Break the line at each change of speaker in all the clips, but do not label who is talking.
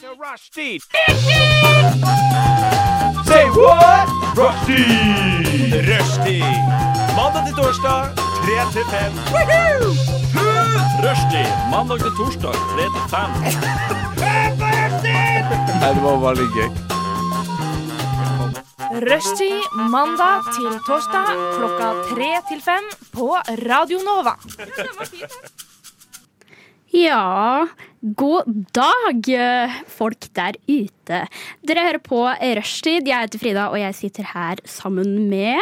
to Rushdie. Say what? Rushdie! Rushdie. Mandag til torsdag, 3 til 5. Rushdie. Mandag til torsdag, 3 til 5.
Rushtid mandag til torsdag klokka tre til fem på Radio Nova.
Ja, god dag, eh, folk der ute. Dere hører på Rushtid. Jeg heter Frida, og jeg sitter her sammen med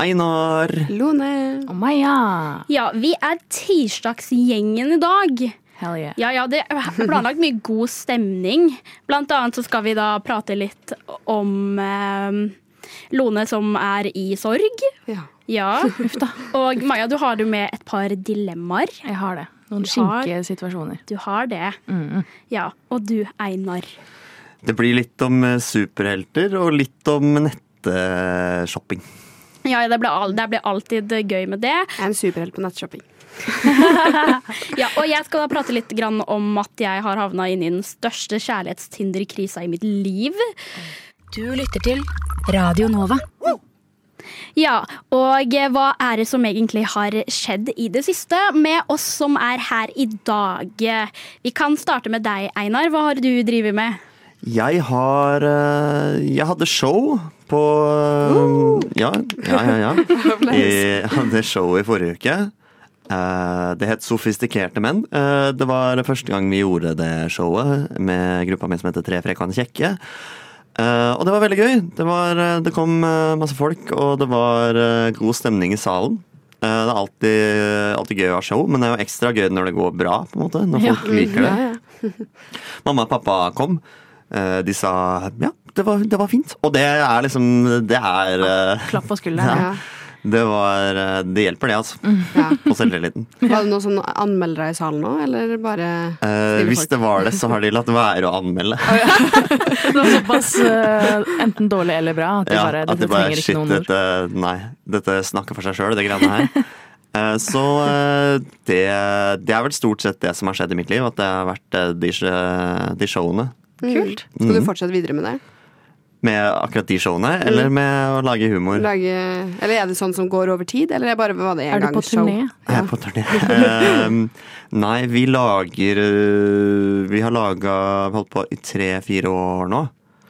Einar.
Lone.
Og Maja.
Ja, vi er tirsdagsgjengen i dag.
Hell yeah.
Ja, ja, det er planlagt mye god stemning. Blant annet så skal vi da prate litt om eh, Lone som er i sorg.
Ja.
Ja. Og Maja, du har jo med et par dilemmaer.
Jeg har det. Noen
har-
skinke situasjoner. Mm.
Du har det. Ja. Og du, Einar.
Det blir litt om eh, superhelter og litt om nettshopping.
Ja, det blir, al det blir alltid gøy med det.
Jeg er en superhelt på nettshopping.
Ja, og jeg skal da prate litt grann om at jeg har havna inn i den største kjærlighetstinderkrisa i mitt liv.
Du lytter til Radio Nova.
Ja, og hva er det som egentlig har skjedd i det siste med oss som er her i dag? Vi kan starte med deg, Einar. Hva har du drevet med?
Jeg har eh, Jeg hadde show på eh, Ja, ja, ja. ja. Jeg hadde show i forrige uke. Eh, Det het Sofistikerte menn. Eh, Det var første gang vi gjorde det showet med gruppa mi som heter Tre frekkende kjekke. Eh, og det var veldig gøy. Det, var, eh, det kom eh, masse folk, og det var eh, god stemning i salen. Eh, det er alltid, alltid gøy å ha show, men det er jo ekstra gøy når det går bra. på en måte, Når folk liker det. Mamma og pappa kom. Eh, de sa ja, det var, det var fint. Og det er liksom Det er eh,
Klapp på skulderen.
ja,
Ja.
det, var, eh, det hjelper, det, altså.
Ja.
På selvtilliten.
Var det noen sånne anmeldere i salen nå, eller bare
Eh,
skriver
hvis
folk?
det var det, så har de latt være å anmelde.
Det var såpass eh, enten dårlig eller bra at de
Ja,
bare,
at
dette
det bare
trenger ikke
shit,
noen ord.
dette, Nei, dette snakker for seg sjøl, det greiene her. Eh, Så eh, det, det er vel stort sett det som har skjedd i mitt liv, at det har vært eh, de, sj- de showene.
Kult.
mm.
Skal du fortsette videre med det?
Med akkurat de showene,
Mm.
eller med å lage humor.
Lage, eller er det sånn som går over tid, eller er det bare var det en
Er du
gang
på
show?
turné?
Jeg er på turné. Eh, Nei, vi lager eh, Vi har laga holdt på i tre-fire år nå.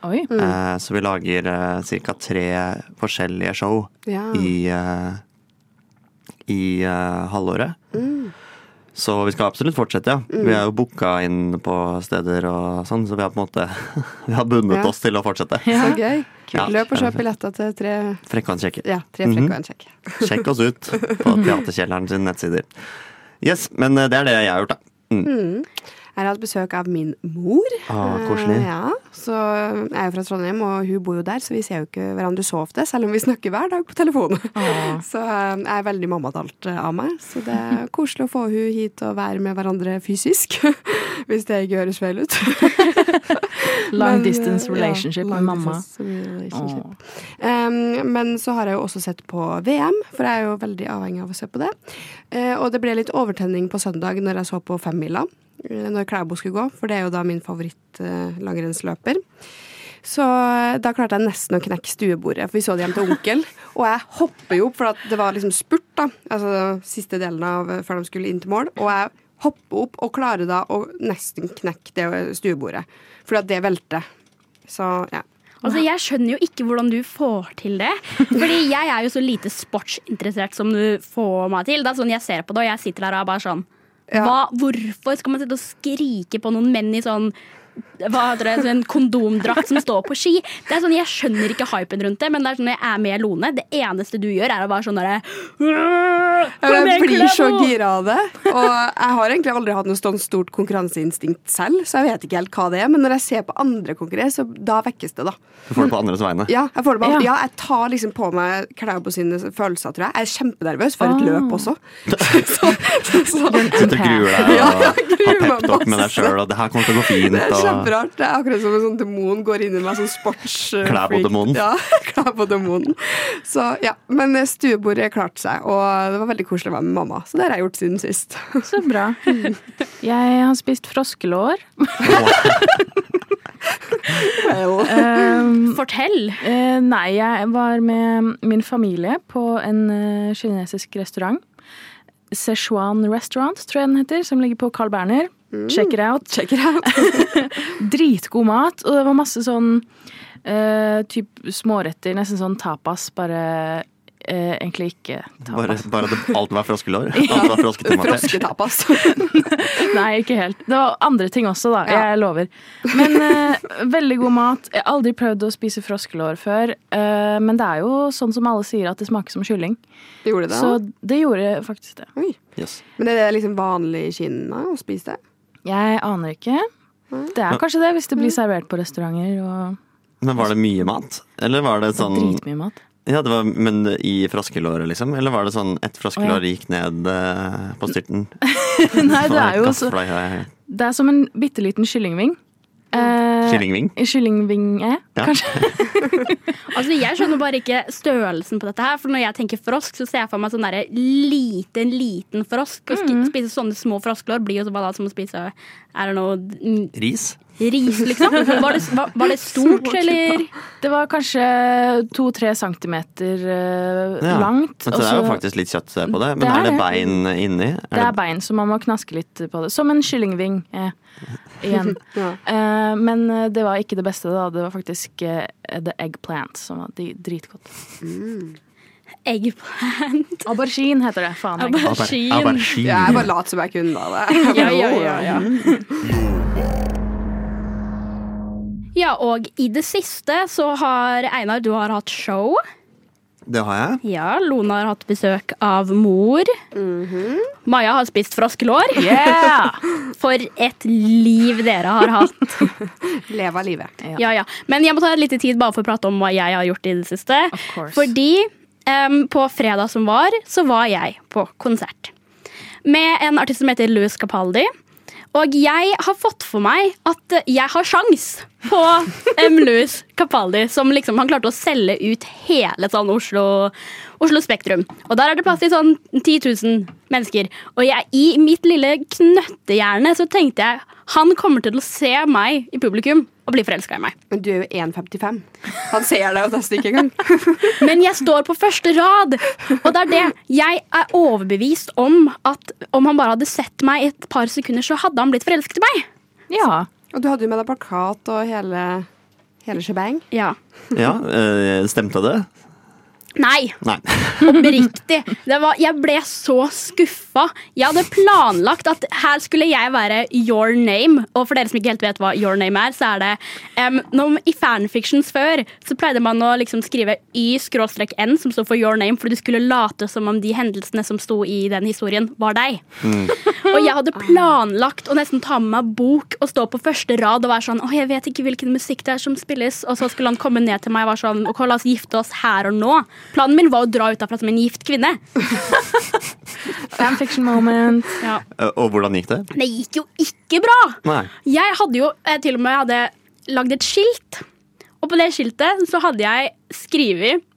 Oi.
Mm.
Eh, Så vi lager ca. tre forskjellige show.
Ja.
i, eh, i eh, halvåret.
Mm.
Så vi skal absolutt fortsette, ja. Vi er jo booka inn på steder og sånn, så vi har på en måte Vi har bundet
Ja.
oss til å fortsette.
Så gøy.
Ja. Mhm.
Løp og kjøp billetter til tre,
Frekkanskjekke.
ja, tre frekke og en sjekk.
Sjekk oss ut på Teaterkjelleren sin nettsider. Yes, men eh, det er det jeg har gjort, da. Mm.
Jeg har hatt besøk av min mor.
Ah,
Eh,
koselig.
Ja, så jeg er jo fra Trondheim, og hun bor jo der, så vi ser jo ikke hverandre så ofte, selv om vi snakker hver dag på telefon.
Ah.
Så eh, jeg er veldig mammadalt eh, av meg, så det er koselig å få hun hit og være med hverandre fysisk. Hvis det ikke høres feil ut.
Long
Men, eh,
distance
ja,
relationship
long
med mamma.
distance relationship.
Åh.
Um, men så har jeg jo også sett på VM, for jeg er jo veldig avhengig av å se på det. Eh, og det ble litt overtenning på søndag når jeg så på femmila, eh, når Klæbo skulle gå, for det er jo da min favoritt-langrennsløper. så eh, da klarte jeg nesten å knekke stuebordet, for vi så det hjem til onkel. Og jeg hopper jo opp, for at det var liksom spurt, da. Altså siste delen av eh, før de skulle inn til mål. Og jeg hopper opp og klarer da å nesten knekke det stuebordet, fordi at det velter. Så ja.
Altså, Jeg skjønner jo ikke hvordan du får til det. Fordi jeg er jo så lite sportsinteressert som du får meg til. Det er sånn jeg ser på det, og jeg sitter der og er bare sånn hva, Hvorfor skal man sitte og skrike på noen menn i sånn hva heter det, sånn kondomdrakt som står på ski? Det er sånn, Jeg skjønner ikke hypen rundt det, men det er sånn når jeg er med Lone, det eneste du gjør, er å bare sånn derre
Ja,
«Kom
men Jeg
igjen,
blir så
Klæbo!»
gira av det. Og jeg har egentlig aldri hatt noe sånn stort konkurranseinstinkt selv, så jeg vet ikke helt hva det er. Men når jeg ser på andre konkurrere, så da vekkes det, da.
Du får det på andres vegne.
Ja, jeg får det bare
Ja.
Ja, jeg tar liksom på meg Klæbo sine følelser, tror jeg. Jeg er kjempenervøs for et
Ah.
løp også. Så, så, så.
Sitter og gruer deg
Ja,
og
jeg gruer
har
meg
peptalk med deg
masse.
sjøl, og det her kommer til å gå fint.
Det er
og...
kjemperart. Det er akkurat som en sånn demon går inn i meg, sånn sports... eh,
Klæbo-demonen.
freak. Ja, Klæbo-demonen. Så ja, men eh, stuebordet klarte seg, og det var veldig koselig å være med mamma. Så det har jeg gjort siden sist.
Så bra. Jeg har spist froskelår. Ehm,
Fortell.
Eh, nei, jeg var med min familie på en eh, kinesisk restaurant. Sichuan Restaurant, tror jeg den heter, som ligger på Carl Berner.
Mm.
Check it out. Dritgod mat, og det var masse sånn eh, typ småretter, nesten sånn tapas, bare eh, egentlig ikke
Bare,
tapas.
bare at alt var froskelår. Alt var frosketematert.
Frosketapas.
Nei, ikke helt. Det var andre ting også, da. Jeg lover. Men eh, veldig god mat. Jeg har aldri prøvd å spise froskelår før, eh, men det er jo sånn som alle sier at det smaker som kylling.
Gjorde det?
Så det gjorde faktisk det.
Oi.
Yes.
Men er det liksom vanlig i Kina å spise det?
Jeg aner ikke.
Mm.
Det er kanskje det, hvis det blir servert på restauranter og
Men var det mye mat? Eller var det sånn
dritmye mat.
Ja, det var, Men i froskelåret, liksom? Eller var det sånn ett froskelår gikk ned eh, på styrten?
Nei, det er jo så,
Gaffel- Nei,
Det er som en bitte liten kyllingving. Eh,
Mm. Kyllingving?
Kyllingvinge,
Ja.
kanskje.
Altså, Jeg skjønner bare ikke størrelsen på dette her. For når jeg tenker frosk, så ser jeg for meg sånn derre liten, liten frosk. Å sk- spise sånne små froskelår blir jo så bare da som å spise er det noe mm,
Ris?
ris, liksom. Var det, var, var det stort, eller?
Det var kanskje to-tre centimeter eh,
Ja.
langt. og
Men så det er jo
så-
faktisk litt kjøtt på det. Men
Det er
er det
det.
bein inni?
det er bein, så man må knaske litt på det. Som en kyllingving. Eh, igjen.
Ja.
Eh, men eh, det var ikke det beste, da. Det var faktisk eh, the eggplant, som var de- dritgodt.
Eggplant.
Aubergine heter det. Faen. jeg.
Auber-
Aubergine.
aubergine.
Jeg bare lot som jeg kunne da Mm. det.
Ja, ja, ja, ja. Ja, og i det siste så har Einar, du har hatt show.
Det har jeg.
Ja, Lone har hatt besøk av mor. Maja har spist froskelår.
Mhm. Yeah!
For et liv dere har hatt.
Leve av livet.
Ja.
Ja, ja. Men jeg må ta litt tid bare for å prate om hva jeg har gjort i det siste.
Of course.
Fordi em, på fredag som var, så var jeg på konsert. Med en artist som heter Louis Capaldi. Og jeg har fått for meg at eh, jeg har sjans på M. Louis Capaldi. Som liksom, han klarte å selge ut hele sånn Oslo, Oslo Spektrum. Og der er det plass til sånn 10 000 mennesker. Og jeg, i mitt lille knøttehjerne så tenkte jeg han kommer til å se meg i publikum og bli forelska i meg.
Men du er jo 1,55. Han ser deg jo nesten ikke engang.
Men jeg står på første rad! Og det er det. Jeg er overbevist om at om han bare hadde sett meg i et par sekunder, så hadde han blitt forelsket i meg.
ja.
Og du hadde jo med deg plakat og hele, hele shebang.
Ja.
Ja, eh, Stemte det?
Nei,
Nei.
oppriktig. Det var, jeg ble så skuffa. Jeg hadde planlagt at her skulle jeg være your name. Og for dere som ikke helt vet hva your name er, så er det em, når, I fanfictions før så pleide man å liksom skrive y-n, som står for your name, fordi du skulle late som om de hendelsene som sto i den historien, var deg. Og jeg hadde planlagt å nesten ta med meg bok og stå på første rad og være sånn Å, jeg vet ikke hvilken musikk det er som spilles. Og så skulle han komme ned til meg og være sånn Ok, la oss gifte oss her og nå. Planen min var å dra ut derfra som en gift kvinne.
Fanfiction moment.
Eh, Og hvordan gikk det?
Det gikk jo ikke bra!
Nei.
Jeg hadde jo eh, til og med hadde lagd et skilt. Og på det skiltet så hadde jeg skrevet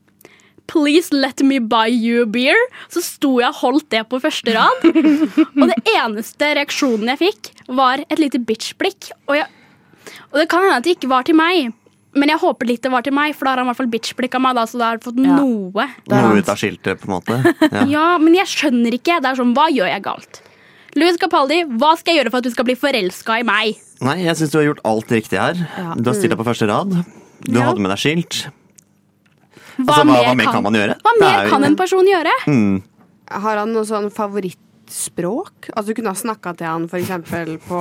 Please let me buy you a beer. Så sto jeg og holdt det på første rad. Og det eneste reaksjonen jeg fikk, var et lite bitch-blikk. Og, jeg- og det kan hende at det ikke var til meg, men jeg håper litt det var til meg, for da har han i hvert fall bitch-blikk av meg. Da, så da har jeg fått
Ja.
noe.
Noe ut av skiltet, på en måte. Ja.
Ja, men jeg skjønner ikke. Det er sånn, Hva gjør jeg galt? Louis Capaldi, hva skal jeg gjøre for at du skal bli forelska i meg?
Nei, jeg syns du har gjort alt riktig her. Du har stilt deg på første rad. Du hadde med deg skilt.
Hva,
Altså, hva, hva mer kan man gjøre?
Hva
Det Mm. er
mer
jo-
kan en person gjøre?
Har han noe sånn favorittspråk? Altså, du kunne ha snakka til han for eksempel på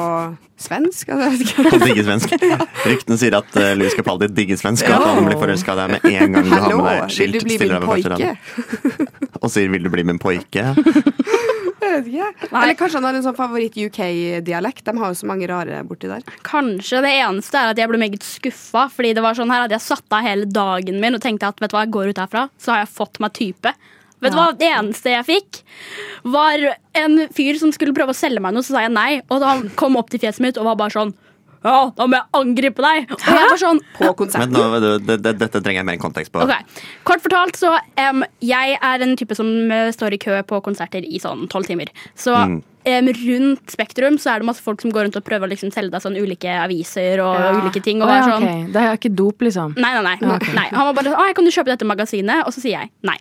svensk? Altså, jeg vet ikke.
Han digger svensk. Ryktene sier at uh, Louis Capaldi digger svensk, og at han blir forelska i deg med en gang du har
Hallo,
med deg et
vil
skilt.
du bli
stiller deg
min
på første rad.
poike?
Og sier 'vil du bli min poike'?
Jeg vet ikke. Eller kanskje han har en sånn favoritt-UK-dialekt? De har jo så mange rare borti der.
Kanskje det eneste er at jeg ble meget skuffa. Fordi det var sånn her at jeg satt av hele dagen min og tenkte at vet du hva, jeg går ut herfra, så har jeg fått meg type. Vet du hva, Det eneste jeg fikk, var en fyr som skulle prøve å selge meg noe, så sa jeg nei. Og da han kom opp til fjeset mitt og var bare sånn Ja, da må jeg angripe deg! Og jeg var sånn
På konsert.
Men nå, det, det, dette trenger jeg mer kontekst på.
Ok, Kort fortalt så em, Jeg er en type som eh, står i kø på konserter i sånn tolv timer. Så em, rundt Spektrum så er det masse folk som går rundt og prøver å liksom selge deg sånn ulike aviser og
Ja.
ulike ting. Og
Å,
er
ja,
sånn,
ok. Det er ikke dop, liksom.
Nei, nei, nei. nei. Han var bare sånn, «Å, jeg kan du kjøpe dette magasinet? Og så sier jeg nei.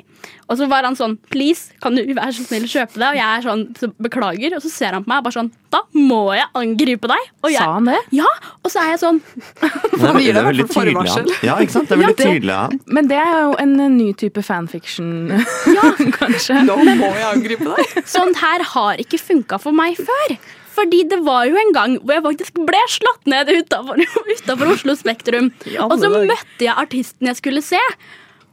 Og så var han sånn, please, kan du være så snill å kjøpe det? Og jeg er sånn, så beklager. Og så ser han på meg og bare sånn, da må jeg angripe deg. Og jeg,
Sa han det?
Ja, og så er jeg sånn,
Han
gir deg i
veldig
hvert
tydelig av
fall
han.
forvarsel.
Ja, ikke sant? Det er veldig
det-
tydelig av han.
Men det er jo en eh, ny type fanfiction, kanskje.
Nå må jeg angripe deg!
sånn her har ikke funka for meg før. Fordi det var jo en gang hvor jeg faktisk ble slått ned utafor utenfor Oslo Spektrum. Og så møtte jeg artisten jeg skulle se.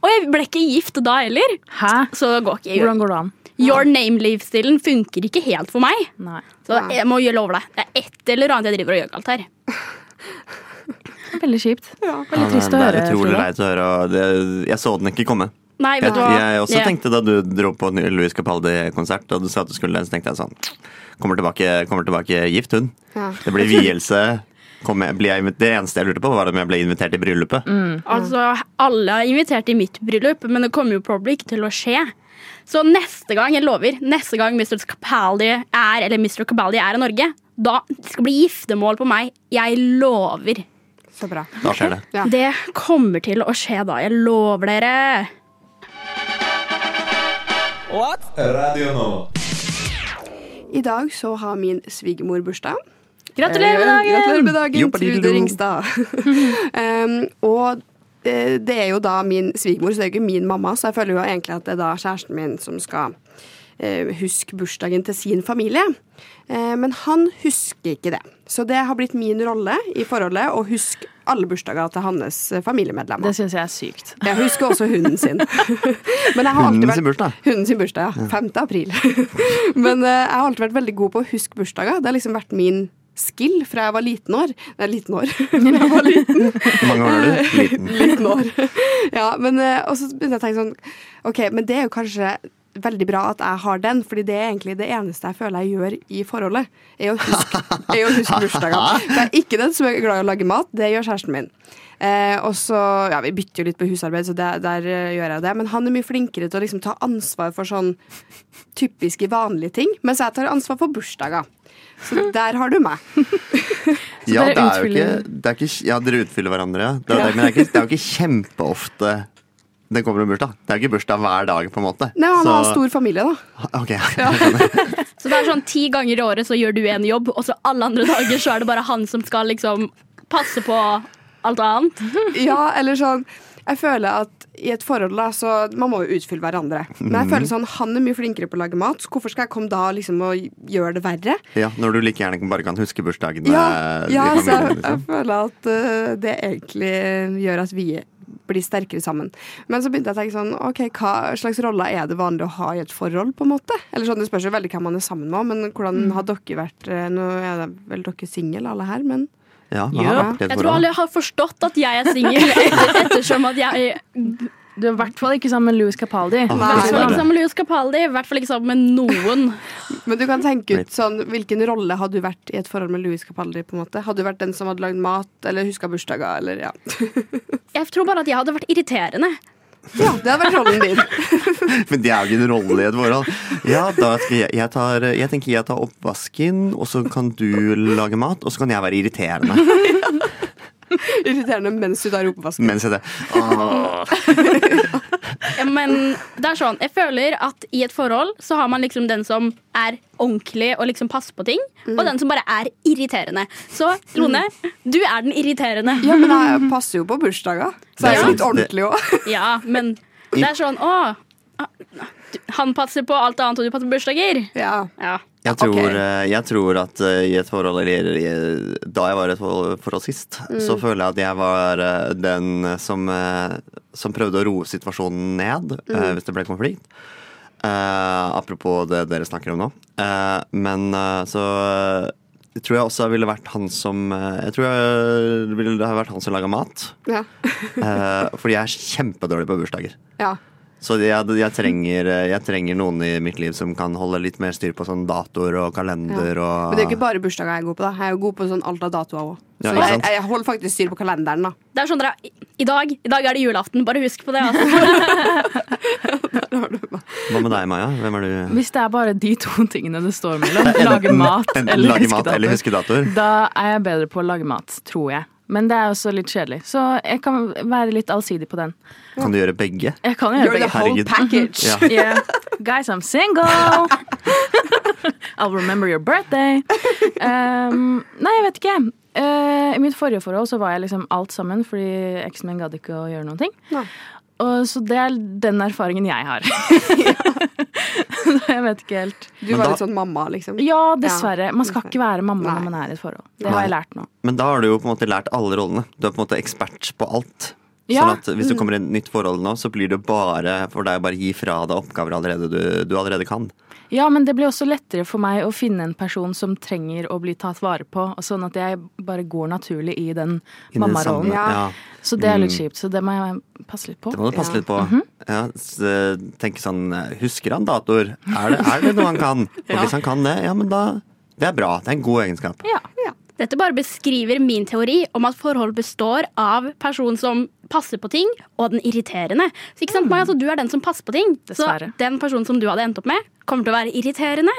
Og jeg ble ikke gift da heller.
Hæ?
Så det går ikke.
Hvordan går det an?
Your name-livsstilen funker ikke helt for meg.
Nei.
Så jeg må gjøre lov deg. Det er et eller annet jeg driver og gjør galt her.
Det er Veldig kjipt. Veldig
Han er-
trist å
Det
høre.
er utrolig
Frida.
leit å høre. Og det, jeg så den ikke komme.
Nei,
Jeg,
vet du hva?
jeg også
Ja.
tenkte da du dro på en Louis Capaldi-konsert, og du sa at du skulle det, så tenkte jeg sånn Kommer tilbake, kommer tilbake gift, hun.
Ja.
Det blir vielse. Kommer jeg- blir jeg invit- Det eneste jeg lurte på, var om jeg ble invitert i bryllupet.
Altså, alle er invitert i mitt bryllup, men det kommer jo probably ikke til å skje. Så neste gang, jeg lover, neste gang Mr. Capaldi er, eller Mr. Capaldi er i Norge, da det skal bli giftermål på meg. Jeg lover.
Så bra.
Da skjer det.
Ja.
Det kommer til å skje da. Jeg lover dere.
I dag så har min svigermor bursdag.
Gratulerer med
Eh, Gratulerer
dagen!
med dagen,
Joppadidodo.
Trude Ringstad. um, og eh, det er jo da min svigermor, så det er jo ikke min mamma, så jeg føler jo egentlig at det er da kjæresten min som skal eh, huske bursdagen til sin familie. Eh, men han husker ikke det. Så det har blitt min rolle i forholdet å huske alle bursdager til hans eh, familiemedlemmer.
Det syns jeg er sykt.
Jeg husker også hunden sin. Men jeg har alltid
Hunden
vært-
sin bursdag?
Hunden sin bursdag, ja. 5. april. Men eh, jeg har alltid vært veldig god på å huske bursdager. Det har liksom vært min skill fra jeg var liten år. Nei, liten år. Fra jeg var liten.
Hvor mange år er du? Liten.
liten år. Ja, men, eh, og så begynte jeg å tenke sånn OK, men det er jo kanskje veldig bra at jeg har den, fordi det er egentlig det eneste jeg føler jeg gjør i forholdet, er å huske, er å huske bursdager. Det er ikke den som er glad i å lage mat, det gjør kjæresten min. Eh, og så, ja, Vi bytter jo litt på husarbeid, så der, der eh, gjør jeg det. Men han er mye flinkere til å liksom ta ansvar for sånn typiske, vanlige ting. Mens jeg tar ansvar for bursdager. Så der har du meg.
Ja,
dere
det er jo
utfyller-
ikke, det er ikke Ja, dere utfyller hverandre, ja. Det, er- det, men det er, ikke, det er jo ikke kjempeofte det kommer en bursdag. Det er jo ikke bursdag hver dag, på en måte.
Nei, Han har
Så-
stor familie, da.
Ok.
Så det er sånn ti ganger i året så gjør du en jobb, og så alle andre dager så er det bare han som skal liksom passe på alt annet.
Ja, eller sånn Jeg føler at i et forhold da, så Man må jo utfylle hverandre. Men jeg føler sånn, han er mye flinkere på å lage mat, så hvorfor skal jeg komme da liksom og gjøre det verre?
Ja, når du like gjerne bare kan huske bursdagen
Ja,
eh,
ja altså,
i
så jeg,
familien,
jeg
liksom.
føler at eh, det egentlig gjør at vi blir sterkere sammen. Men så begynte jeg å tenke sånn OK, hva slags roller er det vanlig å ha i et forhold, på en måte? Eller sånn, Det spørs jo veldig hvem man er sammen med, men hvordan har dere vært eh, Nå er det vel dere single, alle her, men
Ja, man har
Ja.
vært i et
Jeg tror
forhold.
alle har forstått at jeg er singel, etter- ettersom at jeg
Du er i hvert fall ikke sammen med Louis Capaldi.
Nei.
I hvert fall
Dessverre.
ikke sammen med Louis Capaldi, i hvert fall ikke sammen med noen.
Men du kan tenke ut sånn, hvilken rolle hadde du vært i et forhold med Louis Capaldi? på en måte? Hadde du vært den som hadde lagd mat, eller huska bursdager, eller ja.
Jeg tror bare at jeg hadde vært irriterende.
ja. Det hadde vært rollen din.
Men det er jo ikke en rolle i et forhold. Ja, da skal jeg, jeg, tar, jeg tenker jeg tar oppvasken, og så kan du lage mat, og så kan jeg være irriterende
Irriterende mens du tar oppvasken.
mens jeg det. Åh.
Ja, Men det er sånn, jeg føler at i et forhold så har man liksom den som er ordentlig og liksom passer på ting,
Mm.
og den som bare er irriterende. Så Lone, du er den irriterende.
Ja, men jeg passer jo på bursdager, så jeg er
Det er
jo litt
sant, det-
ordentlig òg.
Ja, men det er sånn, å, du- han passer på alt annet, og du passer på bursdager.
Ja.
Ja.
Jeg tror, eh, jeg tror at eh, i et forhold, eller i, da jeg var i et forhold, forhold sist, så føler jeg at jeg var eh, den som, eh, som prøvde å roe situasjonen ned eh, hvis det ble konflikt. Eh, apropos det dere snakker om nå. Eh, men eh, så eh, tror jeg også jeg ville vært han som eh, Jeg tror jeg ville ha vært han som laga mat.
Ja.
Eh, fordi jeg er kjempedårlig på bursdager.
ja.
Så jeg, jeg, trenger, jeg trenger noen i mitt liv som kan holde litt mer styr på sånn datoer og kalender og
Men det er jo ikke bare bursdager jeg er god på. da Jeg er jo god på sånn alt av datoer òg.
Ja,
Så
ikke
jeg,
sant?
jeg holder faktisk styr på kalenderen. da
Det er sånn dere, i, i, dag, I dag er det julaften, bare husk på det. Altså.
Hva med deg, Maja? Hvem er du?
Hvis det er bare de to tingene det står mellom, lage mat
Enten
eller
lage mat
huskedatoer.
eller huskedatoer.
Da er jeg bedre på å lage mat, tror jeg. Men det er også litt kjedelig. Så jeg kan være litt allsidig på den.
Kan du gjøre begge?
Jeg kan gjøre
You're the
begge.
whole
Herregud.
package.
Ja.
Yeah. Guys, I'm single! I'll remember your birthday. Um, nei, jeg vet ikke. Eh, I mitt forrige forhold så var jeg liksom alt sammen, fordi eksen min gadd ikke å gjøre noen ting.
Nei.
Og, så det er den erfaringen jeg har. jeg vet ikke helt.
Du
da-
var litt sånn mamma, liksom.
Ja, dessverre. Man skal ikke være mamma
Nei.
når man er i et forhold. Det har
Nei.
jeg lært nå.
Men da har du jo på en måte lært alle rollene. Du er på en måte ekspert på alt.
Ja. Mm.
Sånn at hvis du kommer i et nytt forhold nå, så blir det bare for deg å bare gi fra deg oppgaver allerede du, du allerede kan.
Ja, men det blir også lettere for meg å finne en person som trenger å bli tatt vare på, og sånn at jeg bare går naturlig i den
Inn i det samme.
mammarollen.
Ja.
Ja.
Så det er litt
Mm.
kjipt, så det må jeg passe litt på.
Det må du passe
Ja.
litt på. ja, s- tenke sånn Husker han datoer? Er det, er det noe han kan? Og hvis han kan det, ja, men da Det er bra. Det er en god egenskap.
Ja.
Dette bare beskriver min teori om at forhold består av personen som passer på ting, og den irriterende. Så ikke sant, Maja, så Du er den som passer på ting.
Dessverre.
Så den personen som du hadde endt opp med, kommer til å være irriterende.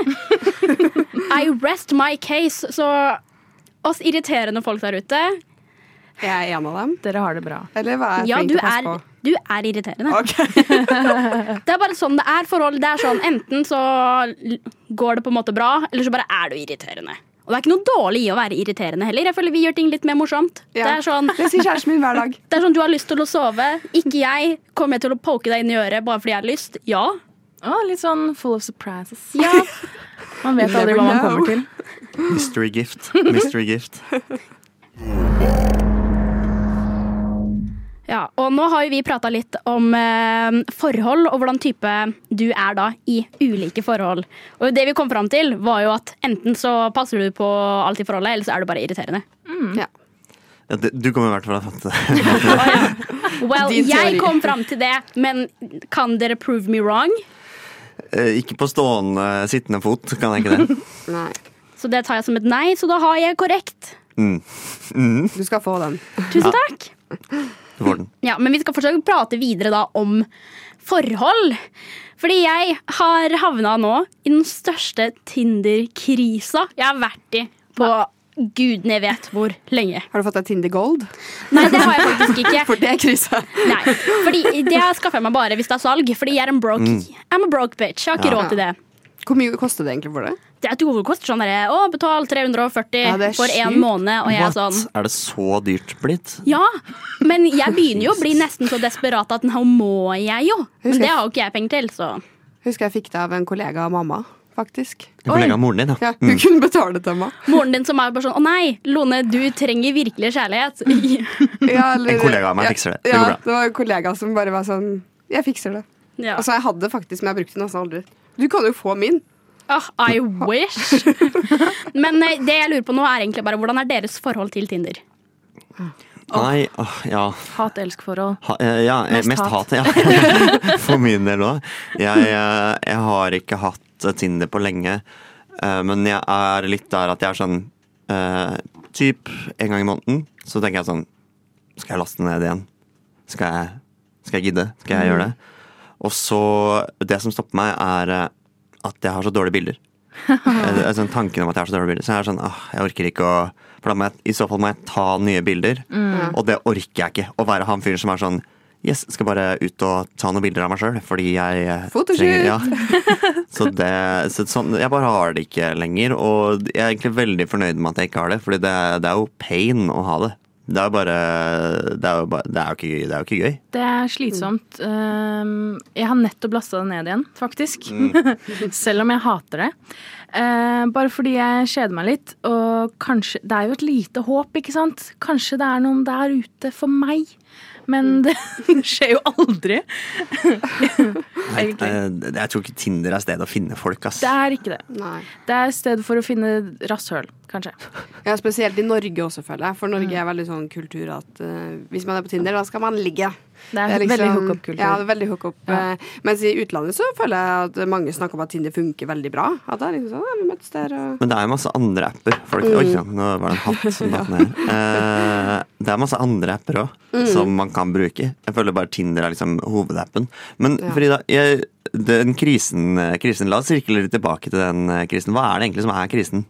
I rest my case. Så oss irriterende folk der ute
Er jeg en av dem?
Dere har det bra.
Eller var jeg
Ja,
flink
du
til å passe
er,
på?
du er irriterende.
Ok.
Det er bare sånn det er forhold. Det er sånn, Enten så l- går det på en måte bra, eller så bare er du irriterende. Og det er ikke noe dårlig i å være irriterende heller. Jeg føler vi gjør ting litt mer morsomt.
Ja.
Det er sånn
Det sier kjæresten min hver dag.
det er sånn, Du har lyst til å sove, ikke jeg. Kommer jeg til å poke deg inn i øret bare fordi jeg har lyst? Ja.
Å, litt sånn full of surprises.
ja.
Man vet
You
aldri
never
hva man
know.
kommer til.
Mystery gift. Mystery gift.
ja. Og nå har jo vi prata litt om eh, forhold og hvordan type du er da i ulike forhold. Og det vi kom fram til, var jo at enten så passer du på alt i forholdet, eller så er du bare irriterende.
Ja.
Ja, det- du kommer i hvert fall til å fatte det.
Well,
Din teori.
jeg kom fram til det, men kan dere prove me wrong?
Eh, Ikke på stående, sittende fot, kan jeg ikke det?
Nei.
Så det tar jeg som et nei, så da har jeg korrekt.
Du skal få den.
Tusen takk.
Du får den.
Ja, Men vi skal fortsatt prate videre da om forhold. Fordi jeg har havna nå i den største Tinder-krisa jeg har vært i på gudene vet hvor lenge.
Har du fått deg Tinder Gold?
Nei, det har jeg faktisk ikke.
For det er krise.
Nei, fordi Det skaffer jeg meg bare hvis det er salg. Fordi jeg er en broke, I'm a broke bitch. Jeg har ikke
Ja.
råd til det.
Hvor mye koster det egentlig for det?
Det er et hovedkost. Sånn derre Å, betal 340
Ja, det er
for én
sjukt.
måned, og jeg er
What?
sånn
Er det så dyrt blitt?
Ja, men jeg begynner jo å bli nesten så desperat at nå må jeg jo. Men det har jo ikke jeg penger til, så
Husker jeg fikk det av en kollega av mamma, faktisk.
En kollega av moren din, ja. Mm.
Ja, hun kunne betale det til meg.
Moren din som er bare sånn Å nei, Lone, du trenger virkelig kjærlighet.
Ja, eller-
En kollega av meg fikser det. Det
ja,
går bra.
Det var en kollega som bare var sånn Jeg fikser det.
Ja.
Altså, jeg hadde det faktisk, men jeg brukte den nesten aldri. Du kan jo få min.
Ah, I wish. Men eh, det jeg lurer på nå, er egentlig bare hvordan er deres forhold til Tinder?
Nei, åh, ja.
Hat-elsk-forhold.
Ha, eh, ja, eh,
Mest
mest
hat.
hat. ja. For min del òg. Jeg, eh, jeg har ikke hatt Tinder på lenge, eh, men jeg er litt der at jeg er sånn eh, Typ en gang i måneden så tenker jeg sånn Skal jeg laste ned igjen? Skal jeg, skal jeg gidde? Skal jeg gjøre det? Og så Det som stopper meg, er eh, at jeg har så dårlige bilder. Eh, sånn tanken om at jeg har så dårlige bilder. Så jeg er sånn, ah, jeg orker ikke å For da må jeg, i så fall må jeg ta nye bilder, og det orker jeg ikke. Å være han fyren som er sånn Yes, skal bare ut og ta noen bilder av meg sjøl, fordi jeg eh,
Fotoshoot!
trenger ja. Så det så sånn, Jeg bare har det ikke lenger, og jeg er egentlig veldig fornøyd med at jeg ikke har det, Fordi det, er- det er jo pain å ha det. Det er jo bare Det er jo, bare, det er jo, ikke, det er jo ikke gøy.
Det er slitsomt. Um, jeg har nettopp lasta det ned igjen, faktisk.
Mm.
Selv om jeg hater det. Eh, bare fordi jeg kjeder meg litt. Og kanskje Det er jo et lite håp, ikke sant? Kanskje det er noen der ute for meg. Men det skjer jo aldri.
Nei,
Egentlig.
eh, Jeg tror ikke Tinder er stedet å finne folk, ass.
Det er ikke det.
Nei.
Det er et sted for å finne rasshøl, kanskje.
Ja,
Mm.
Spesielt i Norge også, føler jeg. For Norge er veldig sånn kultur at eh, hvis man er på Tinder, da skal man ligge.
Det
Det
er
er liksom-
veldig hookup-kultur.
Ja, det er veldig hookup.
Ja.
Eh, Mens i utlandet så føler jeg at mange snakker om at Tinder funker veldig bra. At det er liksom sånn, ja, vi møttes der og
Men det er jo masse andre apper. Folk, Oi, ja, nå var det en hatt som datt ned. Eh, det er masse andre apper òg, som man kan bruke. Jeg føler bare Tinder er liksom hovedappen. Men
Ja.
Frida, jeg, den krisen, krisen, la oss sirkle litt tilbake til den eh, krisen. Hva er det egentlig som er krisen?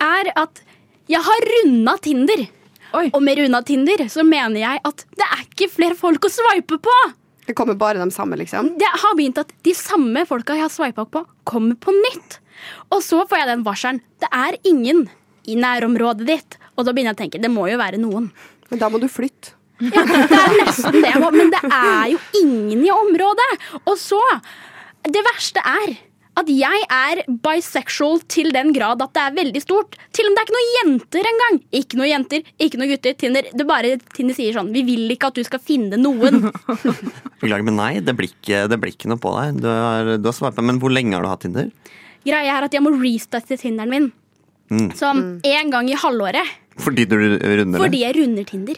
er at jeg har runda Tinder.
Oi.
Og med runda Tinder så mener jeg at det er ikke flere folk å sveipe på.
Det kommer bare de samme, liksom.
Det har begynt at de samme folka jeg har sveipa på, kommer på nytt. Og så får jeg den varselen. Det er ingen i nærområdet ditt. Og da begynner jeg å tenke det må jo være noen.
Men da må du flytte.
Ja, det er nesten det jeg må, men det er jo ingen i området. Og så Det verste er at jeg er bisexual til den grad at det er veldig stort. Til og med det er ikke noen jenter engang. Ikke noen jenter, ikke noen gutter. Tinder, det er bare Tinder sier sånn Vi vil ikke at du skal finne noen.
Beklager, men nei, det blir ikke, det blir ikke noe på deg. Du har, du har sveipa, men hvor lenge har du hatt Tinder?
Greia er at jeg må restarte Tinderen min.
Mm.
Som én gang i halvåret.
Fordi du runder det?
Fordi jeg runder Tinder.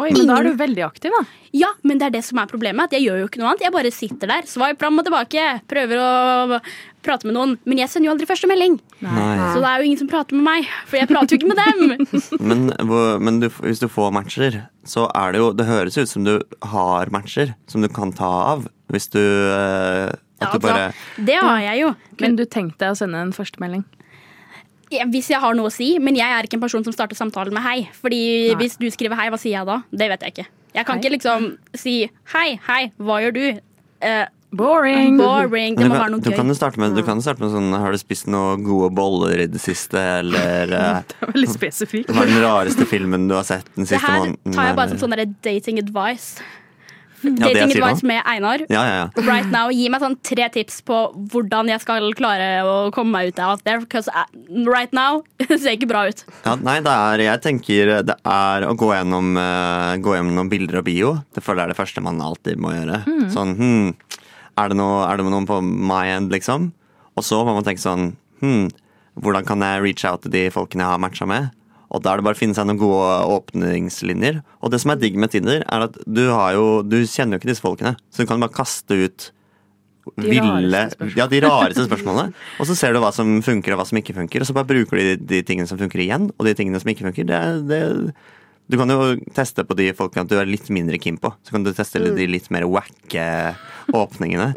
Oi, men da er du veldig aktiv, da.
Ja, men det er det som er problemet. At jeg gjør jo ikke noe annet. Jeg bare sitter der, swipe fram og tilbake, prøver å prate med noen. Men jeg sender jo aldri første melding.
Nei.
Så det er jo ingen som prater med meg, for jeg prater jo ikke med dem.
Men, hvor- men du, hvis du får matcher, så er det jo Det høres ut som du har matcher som du kan ta av. Hvis du eh, At du bare
Altså, det har jeg jo.
Men
Men
du tenkte deg å sende en førstemelding.
jeg- hvis jeg har noe å si, men jeg er ikke en person som starter samtalen med hei. Fordi
Nei.
hvis du skriver hei, hva sier jeg da? Det vet jeg ikke. Jeg kan
Hei.
ikke liksom si hei, hei, hva gjør du? Eh,
Boring!
boring. Det
Men
må
du
være noe
kan, du kan jo
gøy.
starte med, du kan jo starte med sånn Har du spist noen gode boller i det siste? Eller eh,
Veldig spesifikk.
hva er den rareste filmen du har sett den
Det
siste
her
måneden?
tar jeg bare
eller-
som sånn derre dating advice.
eh, det jeg
Dating
sier nå.
advice med Einar.
Ja, ja, ja.
right now. Gi meg sånn tre tips på hvordan jeg skal klare å komme meg ut out there. Because right now det ser ikke bra ut.
ja. Nei, det er Jeg tenker det er å gå gjennom, eh, gå gjennom bilder og bio. Det føler jeg er det første man alltid må gjøre. Sånn hm, er, det noe, er det noen på my end, liksom? Og så må man tenke sånn hm, hvordan kan jeg reach out til de folkene jeg har matcha med? Og da er det bare å finne seg noen gode åpningslinjer. Og det som er digg med Tinder, er at du, har jo, du kjenner jo ikke disse folkene, så du kan bare kaste ut
De
ville
rareste spørsmål.
Ja, de rareste spørsmålene. Og så ser du hva som funker og hva som ikke funker, og så bare bruker du de, de tingene som funker igjen, og de tingene som ikke funker. Det, er- det, du kan jo teste på de folkene du er litt mindre keen på. Så kan du teste
Mm.
de litt mer wacke åpningene.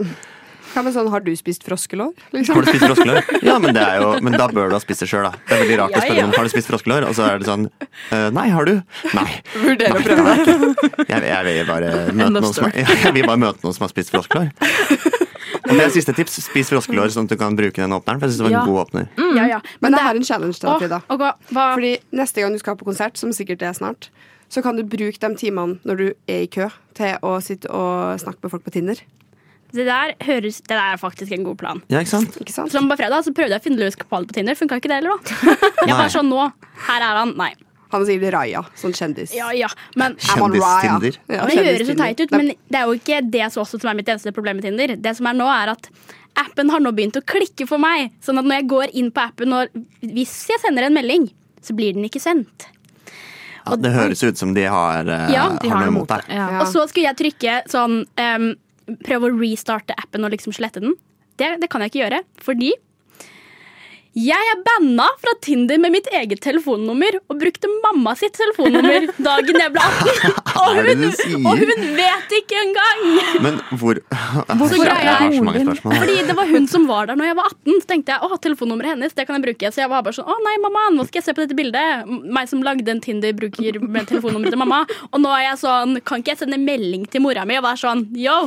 Hva med sånn, har du spist froskelår?
Har
Liksom.
du spist froskelår? Ja, men, det er jo, men da bør du ha spist det sjøl, da. Det er veldig rart å spørre noen har du spist froskelår, og så er det sånn «Eh, Nei, har du? Nei.
Vurderer å
Nei, det
prøve.
har jeg ikke. Jeg, jeg, vil bare
End
møte
of
noen som, ja, jeg vil bare møte noen som har spist froskelår. Og det er siste tips. Spis froskelår sånn at du kan bruke den åpneren. For jeg synes det var en
Ja.
god åpner.
Ja, Mm. ja.
Men jeg har en challenge til deg, Frida.
Å, ok, hva?
Fordi neste gang du skal på konsert, som sikkert er snart, så kan du bruke de timene når du er i kø, til å sitte og snakke med folk på Tinder.
det, der høres, det der er faktisk en god plan.
Ja, ikke sant?
Ikke sant?
Som på fredag så prøvde jeg å finne løs kapalen på Tinder. Funka ikke det heller, da. Jeg
Nei.
var sånn nå. Her er han. Nei.
Han sier Raja, sånn kjendis.
Ja, ja. Men
I'm on Raya.
Kjendistinder.
Ja,
det høres jo
kjendistinder.
teit ut, men det er jo ikke det som også som er mitt eneste problem med Tinder. Det som er nå, er at appen har nå begynt å klikke for meg. Sånn at når jeg går inn på appen, og hvis jeg sender en melding, så blir den ikke sendt.
Ja, det høres ut som de har, eh,
Ja,
De
har
har
noe
noe
mot deg.
Ja.
Ja.
Og så skulle jeg trykke sånn ehm, Prøve å restarte appen og liksom slette den. Det, det kan jeg ikke gjøre, fordi jeg er banna fra Tinder med mitt eget telefonnummer og brukte mamma sitt telefonnummer dagen jeg ble 18. Og
Hva er det
hun,
du sier?
og hun vet ikke engang!
Men hvor Altså,
Hvorfor
Jeg har
er
så mange
moren din?
spørsmål.
Fordi det var hun som var der når jeg var 18. Så tenkte jeg å, telefonnummeret hennes det kan jeg bruke. Så jeg var bare sånn å nei, mamma, nå skal jeg se på dette bildet. M- Meg som lagde en Tinder, bruker med telefonnummeret til mamma. Og nå er jeg sånn, kan ikke jeg sende melding til mora mi og være sånn yo,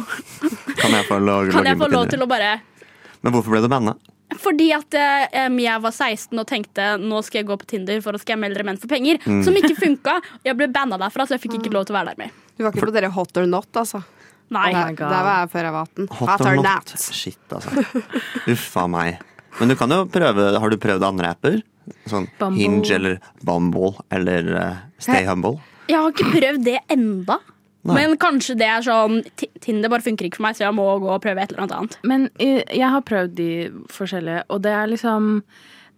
Kan jeg få lov,
kan jeg få lov til
til
å bare
Men hvorfor ble du banna?
fordi at eh, em, jeg var 16 og tenkte nå skal jeg gå på Tinder for å skamme eldre menn for penger. Som ikke funka. Jeg ble banna derfra, så jeg fikk ikke lov til å være der mer.
Du var ikke på dere hot or not, altså.
Nei. Oh
Der,
my God.
der var jeg før jeg var 18.
Hot or not? Shit, altså. Uff a meg. Men du kan jo prøve Har du prøvd andre apper? Sånn
Bumble.
Hinge eller Bumble eller eh, Stay Humble?
Jeg har ikke prøvd det enda.
Nei.
Men kanskje det er sånn Ti- Tinder bare funker ikke for meg, så jeg må gå og prøve et eller annet annet.
Men eh, jeg har prøvd de forskjellige, og det er liksom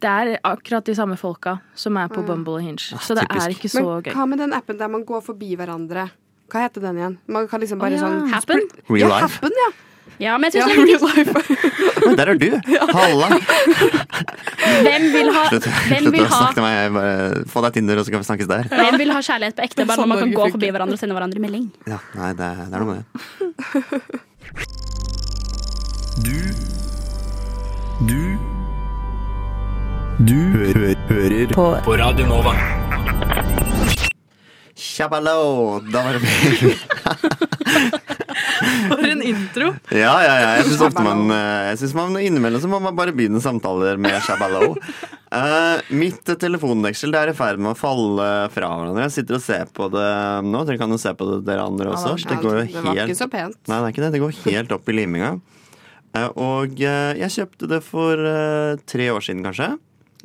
Det er akkurat de samme Mm. folka som er på Bumble og Hinge, så det
typisk.
er ikke så
Men
gøy.
hva med den appen der man går forbi hverandre Hva heter den igjen? Man kan liksom bare
Å, ja.
sånn
Happen?
Real
Ja,
life.
happen, ja.
Ja, men jeg sånn,
ja
synes det er litt-
real life.
Oi, der er du! Halla!
hvem vil ha,
Slutt
hvem
slutt
vil
å
ha
snakke til meg. Bare få deg Tinder, og så kan vi snakkes der.
hvem vil ha kjærlighet på ekte, bare når man kan
Sånn
gå
Norge
forbi hverandre og sende hverandre melding?
Ja, nei, det, er- det er noe med det.
Du Du Du hø hø hører på. på Radio Nova.
Tjabalo! Da var det meg.
For en intro!
Ja, ja, ja. Jeg syns ofte man eh, Jeg synes man innimellom så må man bare begynne samtaler med shabalo. Eh, mitt telefondeksel det er i ferd med å falle fra hverandre. Jeg sitter og ser på det nå. Dere kan jo se på det, dere andre også. Det går
det
jo
var ikke
helt
så pent.
Nei, det er ikke det. Det går helt opp i liminga. Eh, Og eh, jeg kjøpte det for eh, tre år siden, kanskje.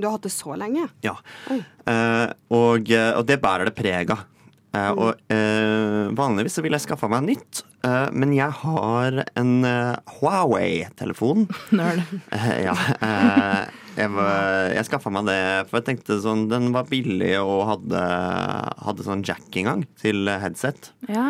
Du har hatt det så lenge.
Ja. Eh, og, eh, og det bærer det preg av. Eh, og eh, vanligvis så ville jeg skaffa meg nytt, eh, men jeg har en eh, Huawei-telefon.
Nerd.
Eh, ja. eh, jeg var- jeg skaffa meg det, for jeg tenkte sånn Den var billig og hadde, hadde sånn jack-inngang til headset.
Ja.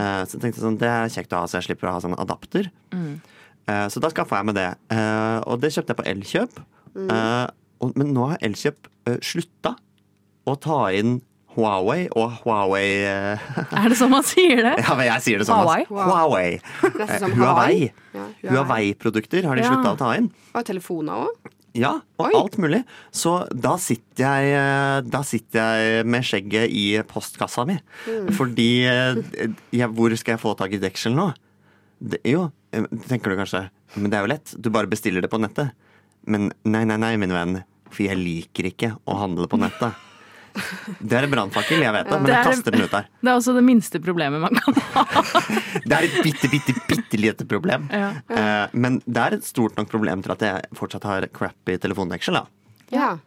Eh, Så jeg tenkte sånn, det er kjekt å ha, så jeg slipper å ha sånn adapter. Eh, Så da skaffa jeg meg det. Eh, Og det kjøpte jeg på Elkjøp. Eh, og- Men nå har Elkjøp eh, slutta å ta inn Huawei og Huawei eh,
Er det sånn man sier det?
Ja, men jeg sier det sånn.
Huawei?
altså. Huawei.
Nesten
Eh,
som
Huawei.
Ja, Huawei.
Huawei-produkter har de
Ja.
slutta å ta inn.
Og telefoner òg.
Ja, og
Oi.
alt mulig. Så da sitter jeg, eh, da sitter jeg med skjegget i postkassa mi. Fordi eh, jeg, Hvor skal jeg få tak i deksel nå? Det, jo, eh, tenker du kanskje. Men det er jo lett. Du bare bestiller det på nettet. Men nei, nei, nei, min venn. For jeg liker ikke å handle på nettet. Det er en brannfakkel, jeg vet det, men
Det
jeg
er-
kaster den ut der.
Det er også det minste problemet man kan ha.
Det er et bitte, bitte, bitte lite problem.
Ja.
Eh, Men det er et stort nok problem til at jeg fortsatt har crappy telefondeksel, da.
Ja.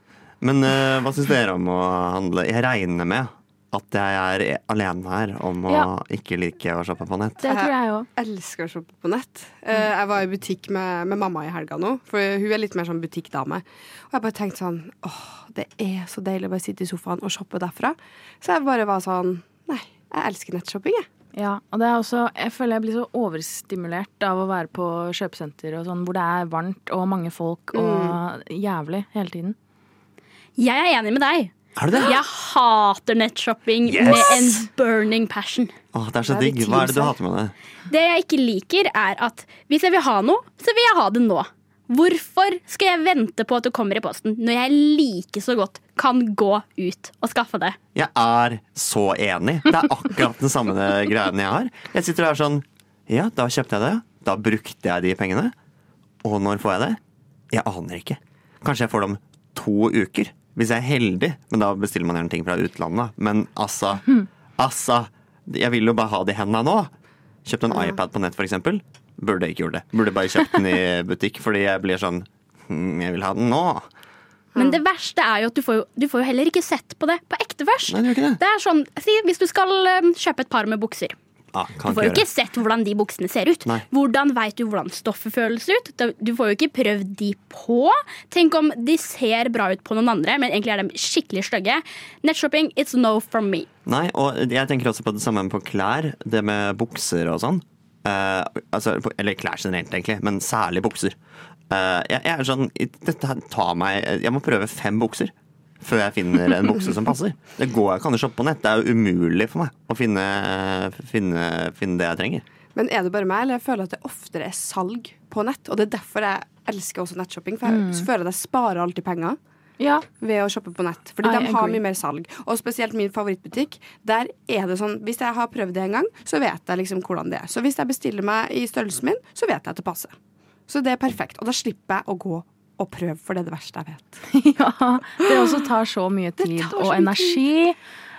Men eh, hva syns dere om å handle? Jeg regner med at jeg er alene her om å
Ja.
ikke like å shoppe på nett.
Det tror jeg òg.
Elsker å shoppe på nett. Eh, Jeg var i butikk med, med mamma i helga nå, for hun er litt mer sånn butikkdame. Og jeg bare tenkte sånn åh, det er så deilig å bare sitte i sofaen og shoppe derfra. Så jeg bare var sånn nei, jeg elsker nettshopping, jeg.
Ja, og det er også, jeg føler jeg blir så overstimulert av å være på kjøpesenter og sånn, hvor det er varmt og mange folk
Mm.
og jævlig hele tiden.
Jeg er enig med deg.
Er du det?
Jeg hater nettshopping med en burning passion.
Åh, det er så
Det er
digg. Hva er det du
betingelser.
hater med det?
Det jeg ikke liker, er at hvis jeg vil ha noe, så vil jeg ha det nå. Hvorfor skal jeg vente på at det kommer i posten, når jeg like så godt kan gå ut og skaffe det?
Jeg er så enig. Det er akkurat den samme greiene jeg har. Jeg sitter her sånn Ja, da kjøpte jeg det. Da brukte jeg de pengene. Og når får jeg det? Jeg aner ikke. Kanskje jeg får det om to uker. Hvis jeg er heldig. Men da bestiller man gjerne ting fra utlandet. da. Men altså, altså Jeg vil jo bare ha det i hendene nå. Kjøpte en iPad på nett, for eksempel. Burde jeg ikke gjort det. Burde bare kjøpt den i butikk, fordi jeg blir sånn «Hm, Jeg vil ha den nå.
Men det verste er jo at du får jo, du får jo heller ikke sett på det på ekte først.
Nei, det gjør ikke det.
Det er sånn, si, Hvis du skal øhm, kjøpe et par med bukser,
Ah,
du
kan
får jo
gjøre
ikke
det.
sett hvordan de buksene ser ut.
Nei.
Hvordan veit du hvordan stoffet føles ut? Da- Du får jo ikke prøvd de på. Tenk om de ser bra ut på noen andre, men egentlig er de skikkelig stygge. Nettshopping, it's no from me.
Nei, og jeg tenker også på det samme på klær. Det med bukser og sånn. Eh, altså, på- eller klær generelt, egentlig, men særlig bukser. Eh, jeg, jeg er sånn i- Dette her tar meg Jeg må prøve fem bukser før jeg finner en bukse som passer. Det går jeg kan jo shoppe på nett. Det er jo umulig for meg å finne, finne, finne det jeg trenger.
Men er det bare meg, eller jeg føler at det oftere er salg på nett? Og det er derfor jeg elsker også nettshopping, for jeg føler at jeg sparer alltid penger
Ja,
ved å shoppe på nett. Fordi
I
de har
agree.
mye mer salg. Og spesielt min favorittbutikk. Der er det sånn, Hvis jeg har prøvd det en gang, så vet jeg liksom hvordan det er. Så hvis jeg bestiller meg i størrelsen min, så vet jeg at det passer. Så det er perfekt. Og da slipper jeg å gå og prøve, for det er det verste jeg vet.
ja. Det også tar så mye tid
tar så
og
mye
energi.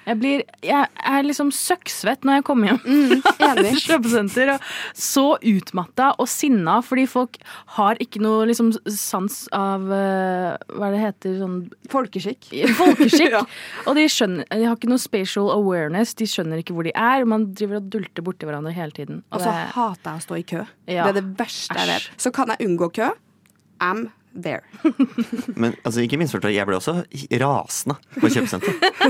Jeg, blir, jeg er liksom søkksvett når jeg kommer hjem
Enig.
til kjøpesenter. Og så utmatta og sinna fordi folk har ikke noe liksom, sans av eh, Hva er det heter? Sånn
Folkeskikk.
Folkeskikk. Og de, skjønner, de har ikke noe spatial awareness, de skjønner ikke hvor de er. Man driver og dulter borti hverandre hele tiden.
Og
Og
så
det,
hater jeg å stå i kø.
Ja.
Det er det verste jeg
Æsj.
vet. Så kan jeg unngå kø. I'm there.
Men altså, ikke minst jeg ble også rasende på kjøpesenteret.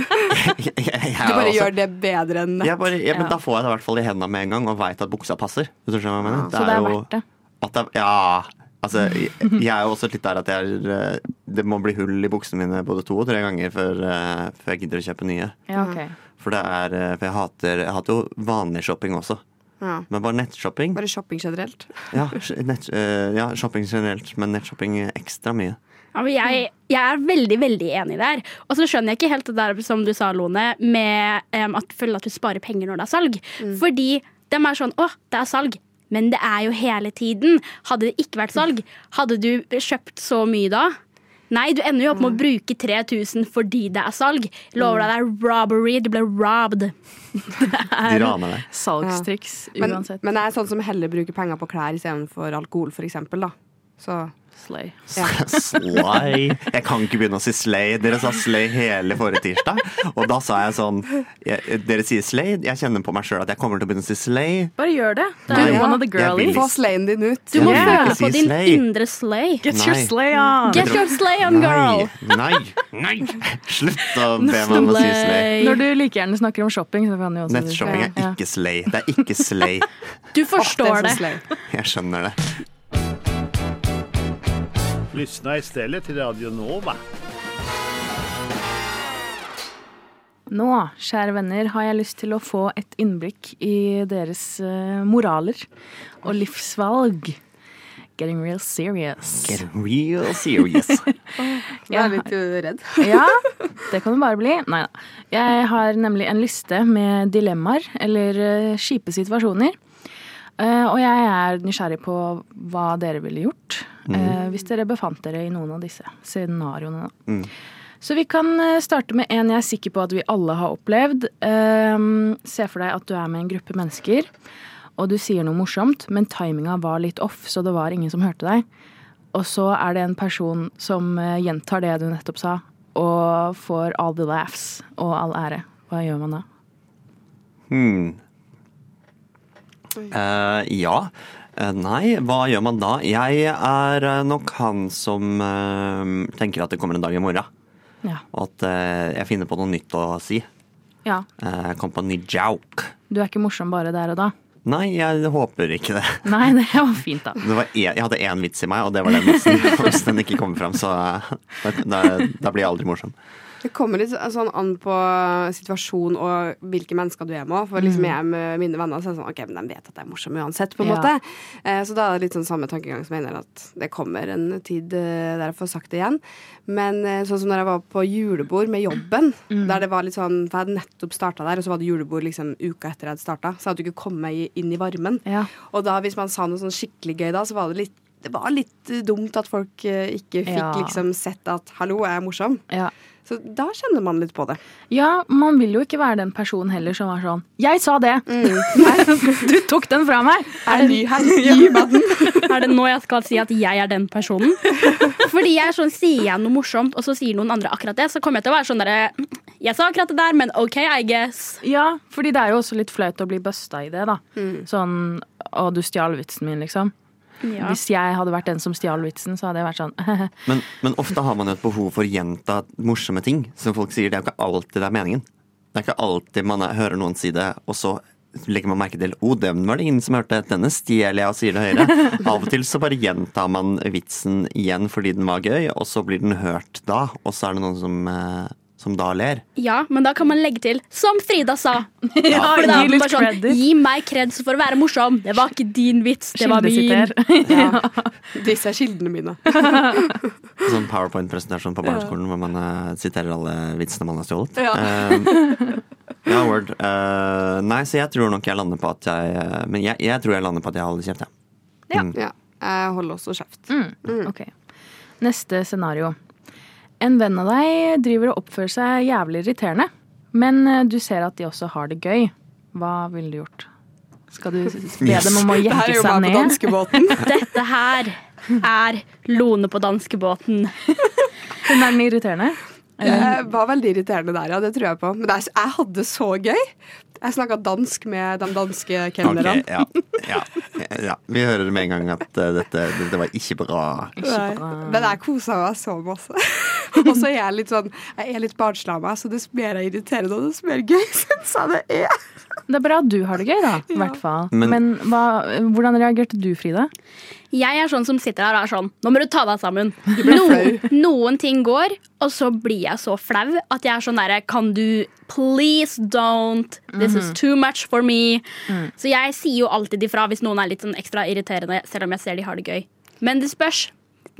Jeg, jeg, jeg,
Du bare
også.
gjør det bedre enn
Jeg bare, altså- ja, men
Ja.
Da får jeg det i hvert fall i hendene med en gang, og veit at buksa passer. Hvis du skjønner hva jeg mener.
Ah, Så det er verdt det.
At det er, ja, altså, jeg, jeg er jo også litt der at jeg, er, eh, det må bli hull i buksene mine både to og tre ganger før, eh, før jeg gidder å kjøpe nye.
Ja, ok.
For, det er, eh, for jeg, hater, jeg hater jo vanlig shopping også.
ja.
Men bare nettshopping.
Bare shopping generelt.
Ja, sj- nett, eh, ja, shopping generelt, men nettshopping ekstra mye.
Ja, men jeg, jeg er veldig veldig enig der. Og så skjønner jeg ikke helt det der som du sa, Lone, med em, at føle at du sparer penger når det er salg. Fordi de er sånn Å, det er salg. Men det er jo hele tiden. Hadde det ikke vært salg, hadde du kjøpt så mye da? Nei, du ender jo opp med å bruke 3000 fordi det er salg. Lover deg, det er robbery. Du ble robbed.
De raner deg.
Salgstriks
Men,
uansett.
men jeg er sånn som heller bruker penger på klær istedenfor alkohol, for eksempel, da. Så
Slay.
ja.
Slay. Jeg kan ikke begynne å si slay. Dere sa slay hele forrige tirsdag. Og da sa jeg sånn jeg, Dere sier slay. Jeg kjenner på meg sjøl at jeg kommer til å begynne å si slay.
Bare gjør det. Det
Nei,
er one of the
jeg vil
girlies.
Få slayen din ut.
Du må
Jeg vil
føle
ikke
på
si
din
slay.
indre slay.
Get your
Nei.
slay on!
Get your slay on, girl.
Nei, nei, nei. Slutt å be meg om å si slay.
Når du like gjerne snakker om shopping, så kan du jo også si
Nettshopping er ikke slay. Det er ikke slay.
Du forstår
Det er
det.
så slay.
Jeg skjønner det.
Lyssna istället till Radio Nova.
Nå, kjære venner, har jeg lyst til å få et innblikk i deres eh, moraler og livsvalg. Getting real serious.
Get real serious.
Jeg er litt uh, redd.
Ja, det kan det bare bli. Nei da. Jeg har nemlig en liste med dilemmaer, eller eh, kjipe situasjoner. Eh, Og jeg er nysgjerrig på hva dere ville gjort eh, hvis dere befant dere i noen av disse scenarioene. da. Så vi kan eh, starte med en jeg er sikker på at vi alle har opplevd. Eh, Se for deg at du er med en gruppe mennesker, og du sier noe morsomt, men timinga var litt off, så det var ingen som hørte deg. Og så er det en person som eh, gjentar det du nettopp sa, og får all the laughs og all ære. Hva gjør man da?
Hmm. Eh, ja. Eh, nei, hva gjør man da? Jeg er eh, nok han som eh, tenker at det kommer en dag i morgen.
Ja.
Og at eh, jeg finner på noe nytt å si.
ja.
Eh, Jeg kom på en ny joke.
Du er ikke morsom bare der og da.
Nei, jeg håper ikke det.
Nei, det var fint, da.
det var en, jeg hadde én vits i meg, og det var den vitsen. Hvis den ikke kommer fram, så eh, da, da, da blir jeg aldri morsom.
Det kommer litt sånn an på situasjon og hvilke mennesker du er med. For liksom jeg er med mine venner, så er det sånn OK, men de vet at jeg er morsom uansett, på en
Mm. Ja.
måte. Eh, Så da er det litt sånn samme tankegang som jeg mener at det kommer en tid eh, der jeg får sagt det igjen. Men eh, sånn som når jeg var på julebord med jobben,
Mm.
der det var litt sånn For jeg hadde nettopp starta der, og så var det julebord liksom uka etter jeg hadde starta. Så jeg hadde jo ikke kommet meg i- inn i varmen.
Ja.
Og da hvis man sa noe sånn skikkelig gøy da, så var det litt det var litt eh, dumt at folk eh, ikke fikk
Ja.
liksom sett at 'hallo, jeg er morsom'.
Ja.
Så da kjenner man litt på det.
ja, man vil jo ikke være den personen heller som var sånn Jeg sa det!
Mm.
du tok den fra meg!
Er det ny her? Ny verden?
Er det nå jeg skal si at jeg er den personen? Fordi jeg er sånn, Sier jeg noe morsomt, og så sier noen andre akkurat det, så kommer jeg til å være sånn derre Jeg sa akkurat det der, men OK, I guess.
Ja, fordi det er jo også litt flaut å bli busta i det, da.
Mm.
Sånn Å, du stjal vitsen min, liksom. Hvis jeg hadde vært den som stjal vitsen, så hadde jeg vært sånn
Men, men ofte har man jo et behov for å gjenta morsomme ting som folk sier. Det er jo ikke alltid det er meningen. Det er ikke alltid man er, hører noen si det, og så legger man merke til oh, den var det ingen som hørte, denne stjeler jeg og sier det høyere. Av og til så bare gjentar man vitsen igjen fordi den var gøy, og så blir den hørt da, og så er det noen som, eh, som da ler.
Ja, men da kan man legge til 'som Frida sa'. Ja,
gi litt credit.
sånn, Gi meg kreds for å være morsom. Det var ikke din vits, det var min.
Kildesiter.
Disse er kildene mine.
Sånn powerpoint-presentasjon på barneskolen hvor man eh, siterer alle vitsene man har stjålet.
Ja.
Eh, ja, word. Eh, nei, så jeg tror nok jeg lander på at jeg eh, Men jeg, jeg tror jeg lander på at jeg holder kjeft, jeg.
Ja. Jeg holder også
Mm.
kjeft.
Ok. Neste scenario. En venn av deg driver og oppfører seg jævlig irriterende, men eh, du ser at de også har det gøy. Hva ville du gjort? Skal du s- be dem om å
Det her
jekke
er jo
seg
meg på
ned?
danskebåten.
Dette her er Lone på danskebåten.
Hun er den irriterende.
Det var veldig irriterende der, ja. Det tror jeg på. Men det er, jeg hadde det så gøy. Jeg snakka dansk med de danske
Ok,
kelnerne.
ja, ja, ja. Vi hører med en gang at eh, dette, dette var ikke bra.
Nei. Men jeg kosa meg så masse. Og så er jeg litt sånn Jeg er litt barnslig av meg, så dess mer jeg irriterer noen, dess mer gøy syns jeg det er.
Det er bra at du har det gøy, da. I hvert fall. Men, hva, hvordan reagerte du, Frida?
Jeg er sånn som sitter her og er sånn Nå må du ta deg sammen. Noen, noen ting går, og så blir jeg så flau at jeg er sånn derre Kan du please don't? This is too much for me. Så jeg sier jo alltid ifra hvis noen er litt sånn ekstra irriterende, selv om jeg ser de har det gøy. Men det spørs.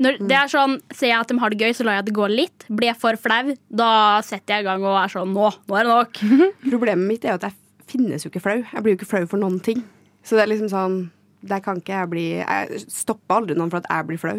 Når det er sånn, Ser jeg at de har det gøy, så lar jeg det gå litt. Blir jeg for flau, da setter jeg i gang og er sånn Nå, nå er det nok.
Problemet mitt er jo at jeg finnes jo ikke flau. Jeg blir jo ikke flau for noen ting. Så det er liksom sånn Der kan ikke jeg bli Jeg stopper aldri noen for at jeg blir flau.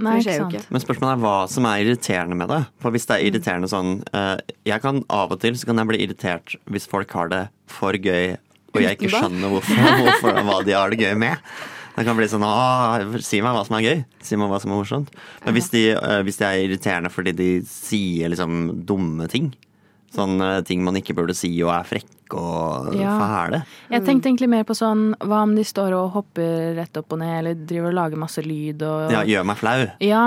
Nei,
Det skjer jo ikke.
Men spørsmålet er hva som er irriterende med det. For hvis det er irriterende sånn eh, Jeg kan av og til så kan jeg bli irritert hvis folk har det for gøy, og jeg ikke
Utenbart.
skjønner hvorfor, hvorfor hva de har det gøy med. Det kan bli sånn Åh, si meg hva som er gøy. Si meg hva som er morsomt. Men hvis de, eh, hvis de er irriterende fordi de sier liksom dumme ting, sånn eh, ting man ikke burde si og er frekke og
Ja.
fæle
Mm.
Jeg tenkte egentlig mer på sånn Hva om de står og hopper rett opp og ned, eller driver og lager masse lyd og
ja, Gjør meg flau.
Ja.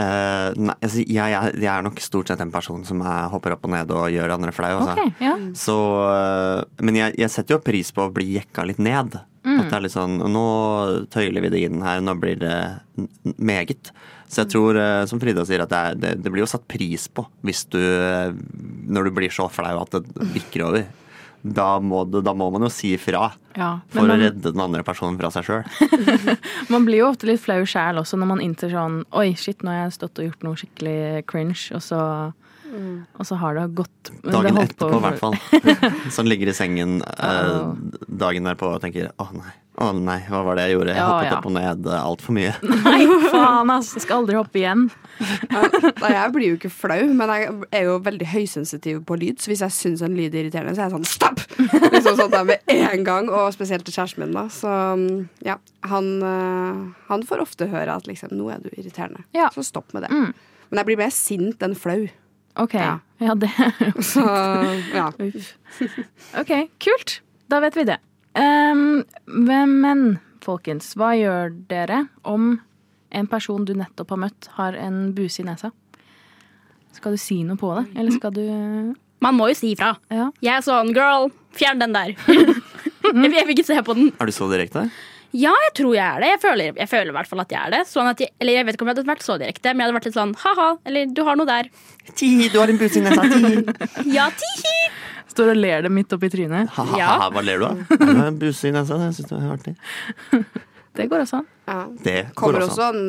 Eh, nei, altså, jeg, jeg, jeg er nok stort sett en person som eh, hopper opp og ned og gjør andre flau. Altså.
Ok, ja.
Så, øh, men jeg, jeg setter jo pris på å bli jekka litt ned.
Mm.
At det er litt sånn Nå tøyler vi det inn her, nå blir det n- n- meget. Så jeg tror, øh, som Frida sier, at det, er, det, det blir jo satt pris på hvis du øh, Når du blir så flau at det bikker over. Da må, du, da må man jo si fra
ja. Men
for å
man,
redde den andre personen fra seg sjøl.
man blir jo ofte litt flau sjæl også når man innser sånn Oi, shit, nå har jeg stått og gjort noe skikkelig cringe, og så, og så har det gått det
Dagen
holdt på
etterpå, i
for-
hvert fall. Sånn ligger i sengen øh,
Åh.
dagen derpå og tenker å nei, å nei, hva var det jeg gjorde? Jeg
Ja,
hoppet
ja.
opp og ned altfor mye.
Nei, faen, ass! Jeg skal aldri hoppe igjen.
Nei, jeg blir jo ikke flau, men jeg er jo veldig høysensitiv på lyd. Så hvis jeg syns en lyd er irriterende, så er jeg sånn stopp! Liksom sånn der med en gang. Og spesielt til kjæresten min, da. Så ja, han, øh, han får ofte høre at liksom nå er du irriterende,
Ja. Mm.
så stopp med det. Men jeg blir mer sint enn flau.
Ok,
Ja.
ja det
Så ja.
Ok, kult. Da vet vi det. Ehm, hvem- men, folkens, hva gjør dere om en person du nettopp har møtt, har en buse i nesa? Skal du si noe på det, eller skal du
Man må jo si ifra.
Ja.
Jeg er sånn Girl, fjern den der. Jeg vil ikke se på den.
Er du så direkte?
Ja, jeg tror jeg er det. Jeg føler, jeg føler i hvert fall at jeg er det. Sånn at jeg, eller jeg vet ikke om jeg hadde vært så direkte, men jeg hadde vært litt sånn ha-ha, eller du har noe der.
Ti, du har en buse i nesa, ti!
Ja, tihi!
Står og ler det midt opp i trynet.
Ha-ha-ha, hva ler du av? Du har en buse i nesa, det syns jeg er artig.
Det går også an.
ja.
Det går
Kommer
også.
også an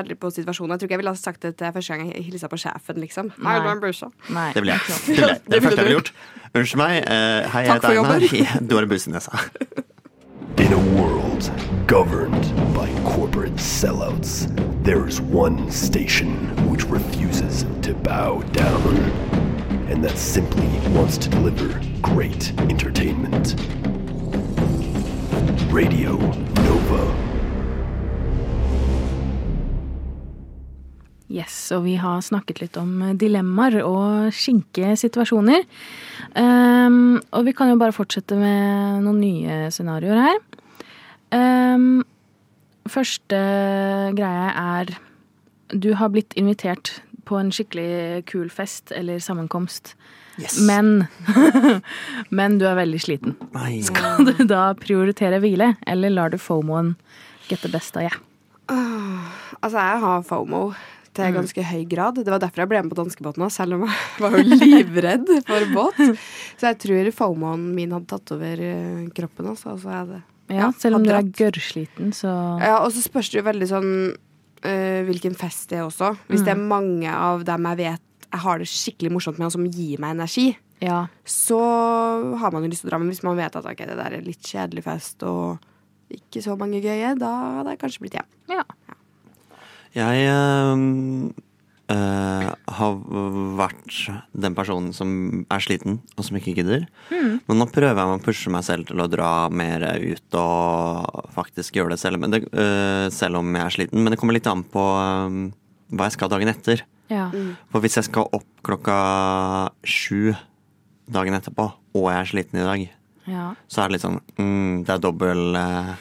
veldig på situasjonen. Jeg tror ikke jeg ville ha sagt det til første gang jeg hilsa på sjefen, liksom.
Nei.
Nei, det var en blusa.
Nei.
Det ville jeg. Det, ville jeg. det er det første jeg ville gjort. Unnskyld meg. eh, hei, jeg
Takk for
heter Einar.
jobben.
Ja, Du har en buse i nesa.
In a world governed by corporate sellouts, there is one station which refuses to bow down, and that simply wants to deliver great entertainment. Radio Nova.
Yes, og vi har snakket litt om eh, dilemmaer og skinke situasjoner. Ehm, og vi kan jo bare fortsette med noen nye scenarioer her. Ehm, første greie er Du har blitt invitert på en skikkelig kul fest eller sammenkomst, men, men du er veldig sliten.
Nei.
Kan du da prioritere hvile, eller lar du fomoen get the best av deg?
Altså, jeg har FOMO til ganske høy grad. Det var derfor jeg ble med på danskebåten òg, selv om jeg Mm. var jo livredd for båt. Så jeg tror FOMO-en min hadde tatt over eh, kroppen. Altså. Altså, jeg hadde.
Ja, selv om du
hadde
er
rett.
gørrsliten, så
Ja, og så spørs det jo veldig sånn eh, hvilken fest det er også. Hvis det er mange av dem jeg vet jeg har det skikkelig morsomt med, og som gir meg energi,
ja.
så har man jo lyst til å dra. Men hvis man vet at ok, det der er litt kjedelig fest og ikke så mange gøye, da hadde jeg kanskje blitt hjemme.
ja.
Jeg ehm, eh, har vært den personen som er sliten, og som ikke gidder. Men nå prøver jeg å pushe meg selv til å dra mer ut og faktisk gjøre det selv, men det, eh, selv om jeg er sliten. Men det kommer litt an på ehm, hva jeg skal dagen etter.
ja.
For hvis jeg skal opp klokka sju dagen etterpå, og jeg er sliten i dag,
Ja.
så er det litt sånn mm, Det er dobbel, eh,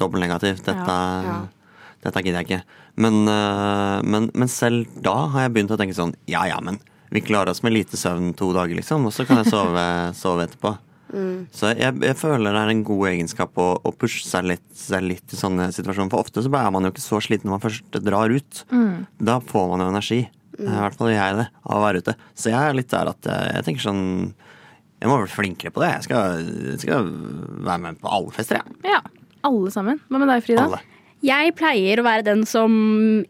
dobbeltnegativt. Dette,
ja.
Eh, dette gidder jeg ikke. Men, eh, men, men selv da har jeg begynt å tenke sånn Ja ja, men vi klarer oss med lite søvn to dager, liksom. Og så kan jeg sove, sove etterpå. Så jeg, jeg føler det er en god egenskap å, å pushe seg litt, seg litt i sånne situasjoner. For ofte så er man jo ikke så sliten når man først drar ut. Da får man jo energi. I hvert fall gjør jeg det, av å være ute. Så jeg er litt der at eh, jeg tenker sånn jeg må bli flinkere på det. Jeg skal, jeg skal være med på alle fester, jeg.
ja. Alle sammen. Hva med deg, Frida?
Alle.
Jeg pleier å være den som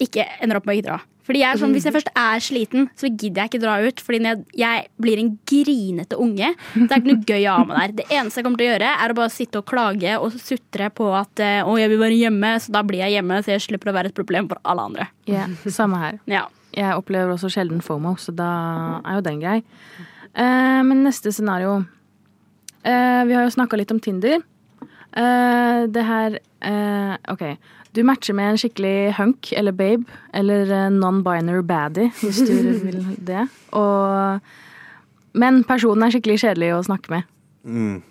ikke ender opp med å ikke dra. Fordi jeg er
Mm.
sånn, Hvis jeg først er sliten, så gidder jeg ikke dra ut. Fordi når jeg, jeg blir en grinete unge. Det er ikke noe gøy å ha med der. Det eneste jeg kommer til å gjøre, er å bare sitte og klage og sutre på at eh, å, jeg vil være hjemme, så da blir jeg hjemme, så jeg slipper å være et problem for alle andre.
Ja, samme her.
Ja.
Jeg opplever også sjelden FOMO, så da er jo den grei. Eh, men neste scenario. Eh, vi har jo snakka litt om Tinder. Eh, det her eh, OK. Du matcher med en skikkelig hunk eller babe eller eh, non-binary baddie, hvis du vil det. Og, men personen er skikkelig kjedelig å snakke med.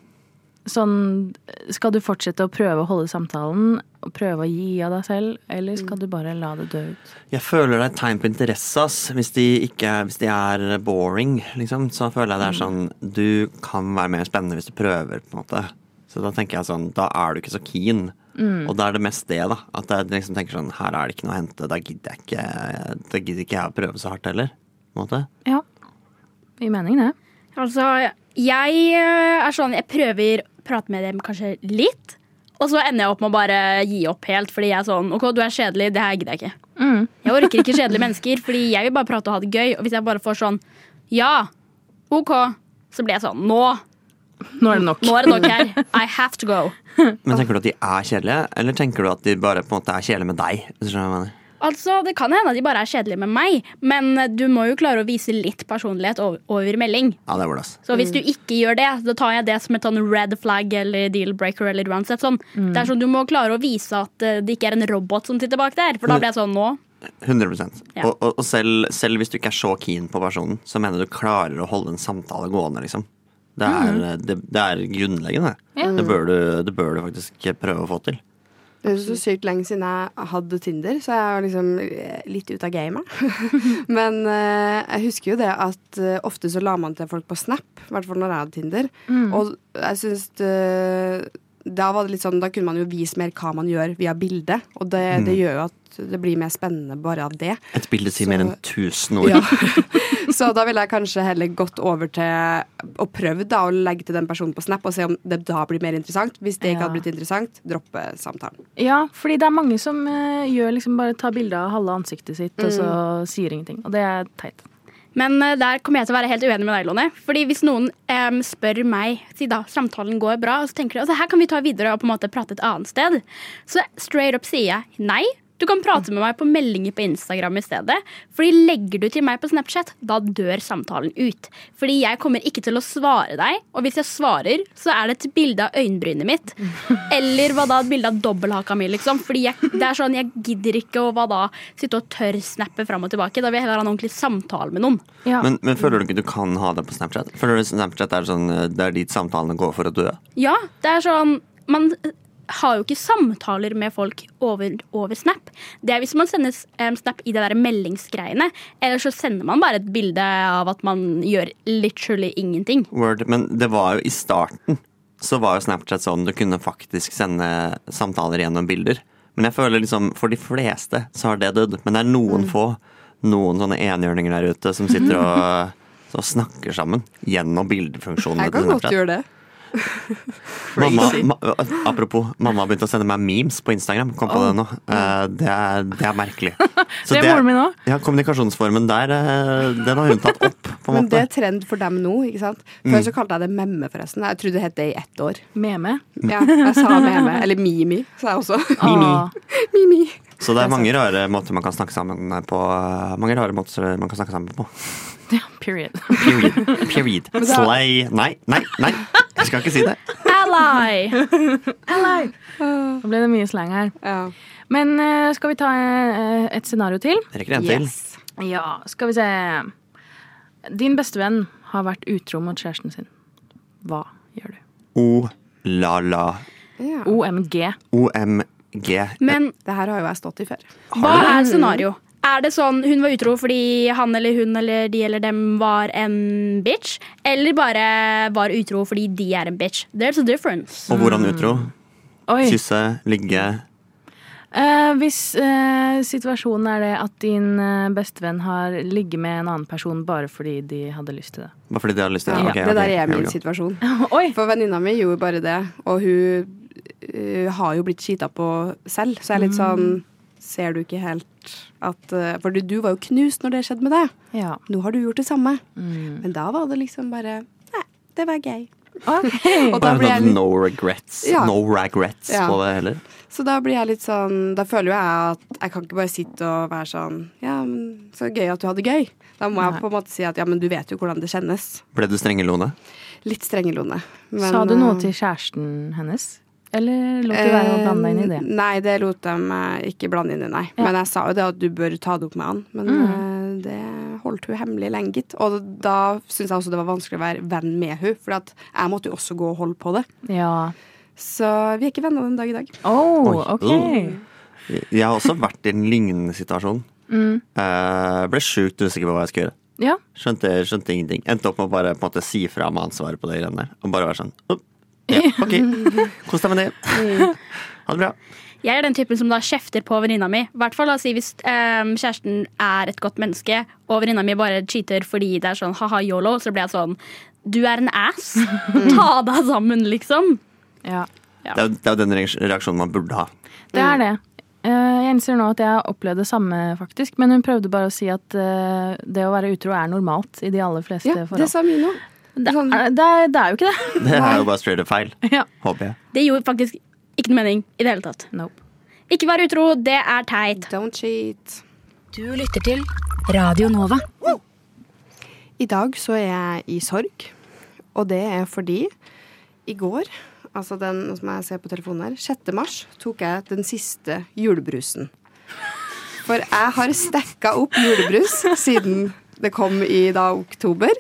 Sånn, skal du fortsette å prøve å holde samtalen og prøve å gi av deg selv, eller skal du bare la det dø ut?
Jeg føler det er et tegn på interesse, ass. Hvis de, ikke, hvis de er boring, liksom, så føler jeg det er sånn Du kan være mer spennende hvis du prøver, på en måte. Så da tenker jeg sånn Da er du ikke så keen. Og da er det mest det, da. At jeg liksom tenker sånn Her er det ikke noe å hente. Da gidder jeg ikke, da gidder ikke jeg å prøve så hardt heller. På en måte.
Ja. I mening, det.
Altså, jeg eh, er sånn, jeg prøver å prate med dem kanskje litt. Og så ender jeg opp med å bare gi opp helt, fordi jeg er sånn OK, du er kjedelig, det her gidder jeg ikke. Jeg orker ikke kjedelige mennesker, fordi jeg vil bare prate og ha det gøy. Og hvis jeg bare får sånn ja, OK, så blir jeg sånn nå,
Nå er det nok.
nå er det nok her. I have to go.
Men tenker du at de er kjedelige, eller tenker du at de bare på en måte er kjedelige med deg? Hvis du skjønner hva jeg mener?
Altså, Det kan hende at de bare er kjedelige med meg, men du må jo klare å vise litt personlighet over, over melding.
Ja, det var det, ass.
Så hvis du ikke gjør det, da tar jeg det som et sånn red flag eller deal breaker. eller uansett sånn. Det er sånn Du må klare å vise at eh, det ikke er en robot som sitter bak der. For da blir jeg sånn nå.
100
Ja.
Og, og, og selv, selv hvis du ikke er så keen på personen, så mener du klarer å holde en samtale gående, liksom. Det er,
Mm.
det, det er grunnleggende. Det, bør du, det bør du faktisk prøve å få til.
Det er så sykt lenge siden jeg hadde Tinder, så jeg var liksom eh, litt ute av gamet. Men eh, jeg husker jo det at eh, ofte så la man til folk på Snap, i hvert fall når jeg hadde Tinder. Og jeg syns det, da var det litt sånn, da kunne man jo vise mer hva man gjør via bilde, og det, det gjør jo at det blir mer spennende bare av det.
Et bilde sier
Så-
mer enn 1000 ord.
Ja. Så da ville jeg kanskje heller gått over til og prøvd da å legge til den personen på Snap og se om det da blir mer interessant. Hvis det ikke
Ja.
hadde blitt interessant, droppe samtalen.
Ja, fordi det er mange som eh, gjør liksom bare tar bilde av halve ansiktet sitt, og så sier ingenting. Og det er teit.
Men eh, der kommer jeg til å være helt uenig med deg, Lone. Fordi hvis noen em, spør meg si da samtalen går bra, og så tenker de altså, her kan vi ta videre og på en måte prate et annet sted, så straight up sier jeg nei. Du kan prate med meg på meldinger på Instagram i stedet. Fordi legger du til meg på Snapchat, da dør samtalen ut. Fordi jeg kommer ikke til å svare deg, og hvis jeg svarer, så er det et bilde av øyenbrynet mitt. Eller hva da, et bilde av dobbelthaka mi, liksom. Fordi jeg, det er sånn, jeg gidder ikke å hva da, sitte og tørrsnappe fram og tilbake. Da vil jeg heller ha en ordentlig samtale med noen.
Ja.
Men, men føler du ikke du kan ha det på Snapchat? Føler du Snapchat er sånn, eh, det er dit samtalene går for å dø?
Ja, det er sånn Man har jo ikke samtaler med folk over, over Snap. Det er hvis man sender em, Snap i det der meldingsgreiene. Eller så sender man bare et bilde av at man gjør literally ingenting.
Word. Men det var jo i starten så var jo Snapchat sånn du kunne faktisk sende samtaler gjennom bilder. Men jeg føler liksom, for de fleste så har det dødd. Men det er noen
Mm.
få, noen sånne enhjørninger der ute som sitter og, og snakker sammen gjennom bildefunksjonene
Jeg kan
til
godt
Snapchat.
gjøre det.
Mamma, ma, apropos, mamma har begynt å sende meg memes på Instagram. Kom på det nå. Eh, det, er, det er merkelig. Så
Det er moren min også.
Ja, kommunikasjonsformen der, eh, den har hun tatt opp, på en
Men det
måte. Mm.
er trend for dem nå, ikke sant? Før så kalte jeg det memme, forresten. Jeg trodde det het det i ett år.
Meme.
Ja, jeg sa meme. Eller mimi, sa jeg også.
Åh,
mimi.
Så det er mange rare måter man kan snakke sammen på. eh, Mange rare måter man kan snakke sammen på.
period.
Period. Period. Slay Nei, nei, nei. Jeg skal ikke si det.
Ally!
Nå ble det mye slang her.
Ja.
Men eh, skal vi ta eh, et scenario til?
Jeg Rekker en til.
Ja, skal vi se. Din beste venn har vært utro mot kjæresten sin. Hva gjør du?
O-la-la.
Ja.
OMG.
OMG.
Men
Det her har jo jeg stått i før.
hva er scenario? Er det sånn hun var utro fordi han eller hun eller de eller dem var en bitch? Eller bare var utro fordi de er en bitch? There's a difference.
Og hvordan utro?
Oi.
Kysse, ligge.
Eh, hvis eh, situasjonen er det at din eh, bestevenn har ligget med en annen person bare fordi de hadde lyst til det.
Bare fordi de har lyst til det.
Ja,
Ok,
det
ok,
der er
here we
min
go.
situasjon.
Oi!
For venninna mi gjorde bare det, og hun eh, har jo blitt skita på selv, så jeg er
Mm.
litt sånn Ser du ikke helt at eh, For du, du var jo knust når det skjedde med deg.
Ja.
Nå har du gjort det samme. Men da var det liksom bare Nei, det var gøy.
Ok.
Og da blir jeg litt
sånn No regrets.
Ja.
No regrets
Ja.
på det heller.
Så da blir jeg litt sånn Da føler jo jeg at jeg kan ikke bare sitte og være sånn Ja, men så gøy at du hadde gøy. Da må jeg på en måte si at ja, men du vet jo hvordan det kjennes.
Ble du strenge, Lone?
Litt strengelone. men,
Sa du noe
eh,
til kjæresten hennes? Eller lot du være å blande deg inn i det?
Eh, Nei, det lot de meg ikke blande inn i, nei. Men jeg sa jo det at du bør ta det opp med han. Men
Mm.
eh, det holdt hun hemmelig lenge, gitt. Og da syntes jeg også det var vanskelig å være venn med hun, for at jeg måtte jo også gå og holde på det.
Ja.
Så vi er ikke venner den dag i dag.
Oh,
Oi.
ok.
Jeg har også vært i en lignende situasjon.
Mm.
Eh, ble sjukt usikker på hva jeg skulle gjøre.
Ja.
Skjønte, skjønte ingenting. Endte opp med å bare på en måte, si fra meg ansvaret på det greiene der. Og bare være sånn «Opp, ja, OK, kos deg med det.
Mm.
Ha det bra.
Jeg er den typen som da kjefter på venninna mi. I hvert fall da, si hvis ehm, kjæresten er et godt menneske, og venninna mi bare cheater fordi det er sånn ha-ha, yolo, så blir jeg sånn Du er en ass. Ta deg sammen, liksom.
ja.
Det er, jo- det er jo den reaksjonen man burde ha.
Det
Mm.
er det. Eh, Jeg innser nå at jeg har opplevd det samme, faktisk. Men hun prøvde bare å si at eh, det å være utro er normalt i de aller fleste
Ja, det
forhold.
sa min òg.
Det
sånn-
er, det, er, det er jo ikke det.
Det er jo bare straight up feil.
Ja.
Håper jeg.
Det gjorde faktisk ikke noe mening i det hele tatt.
Nope.
Ikke vær utro, det er teit.
Don't cheat.
Du lytter til Radio Nova.
I dag så er jeg i sorg, og det er fordi i går, altså den nå som jeg ser på telefonen her, 6. mars, tok jeg den siste julebrusen. For jeg har stekka opp julebrus siden det kom i da oktober.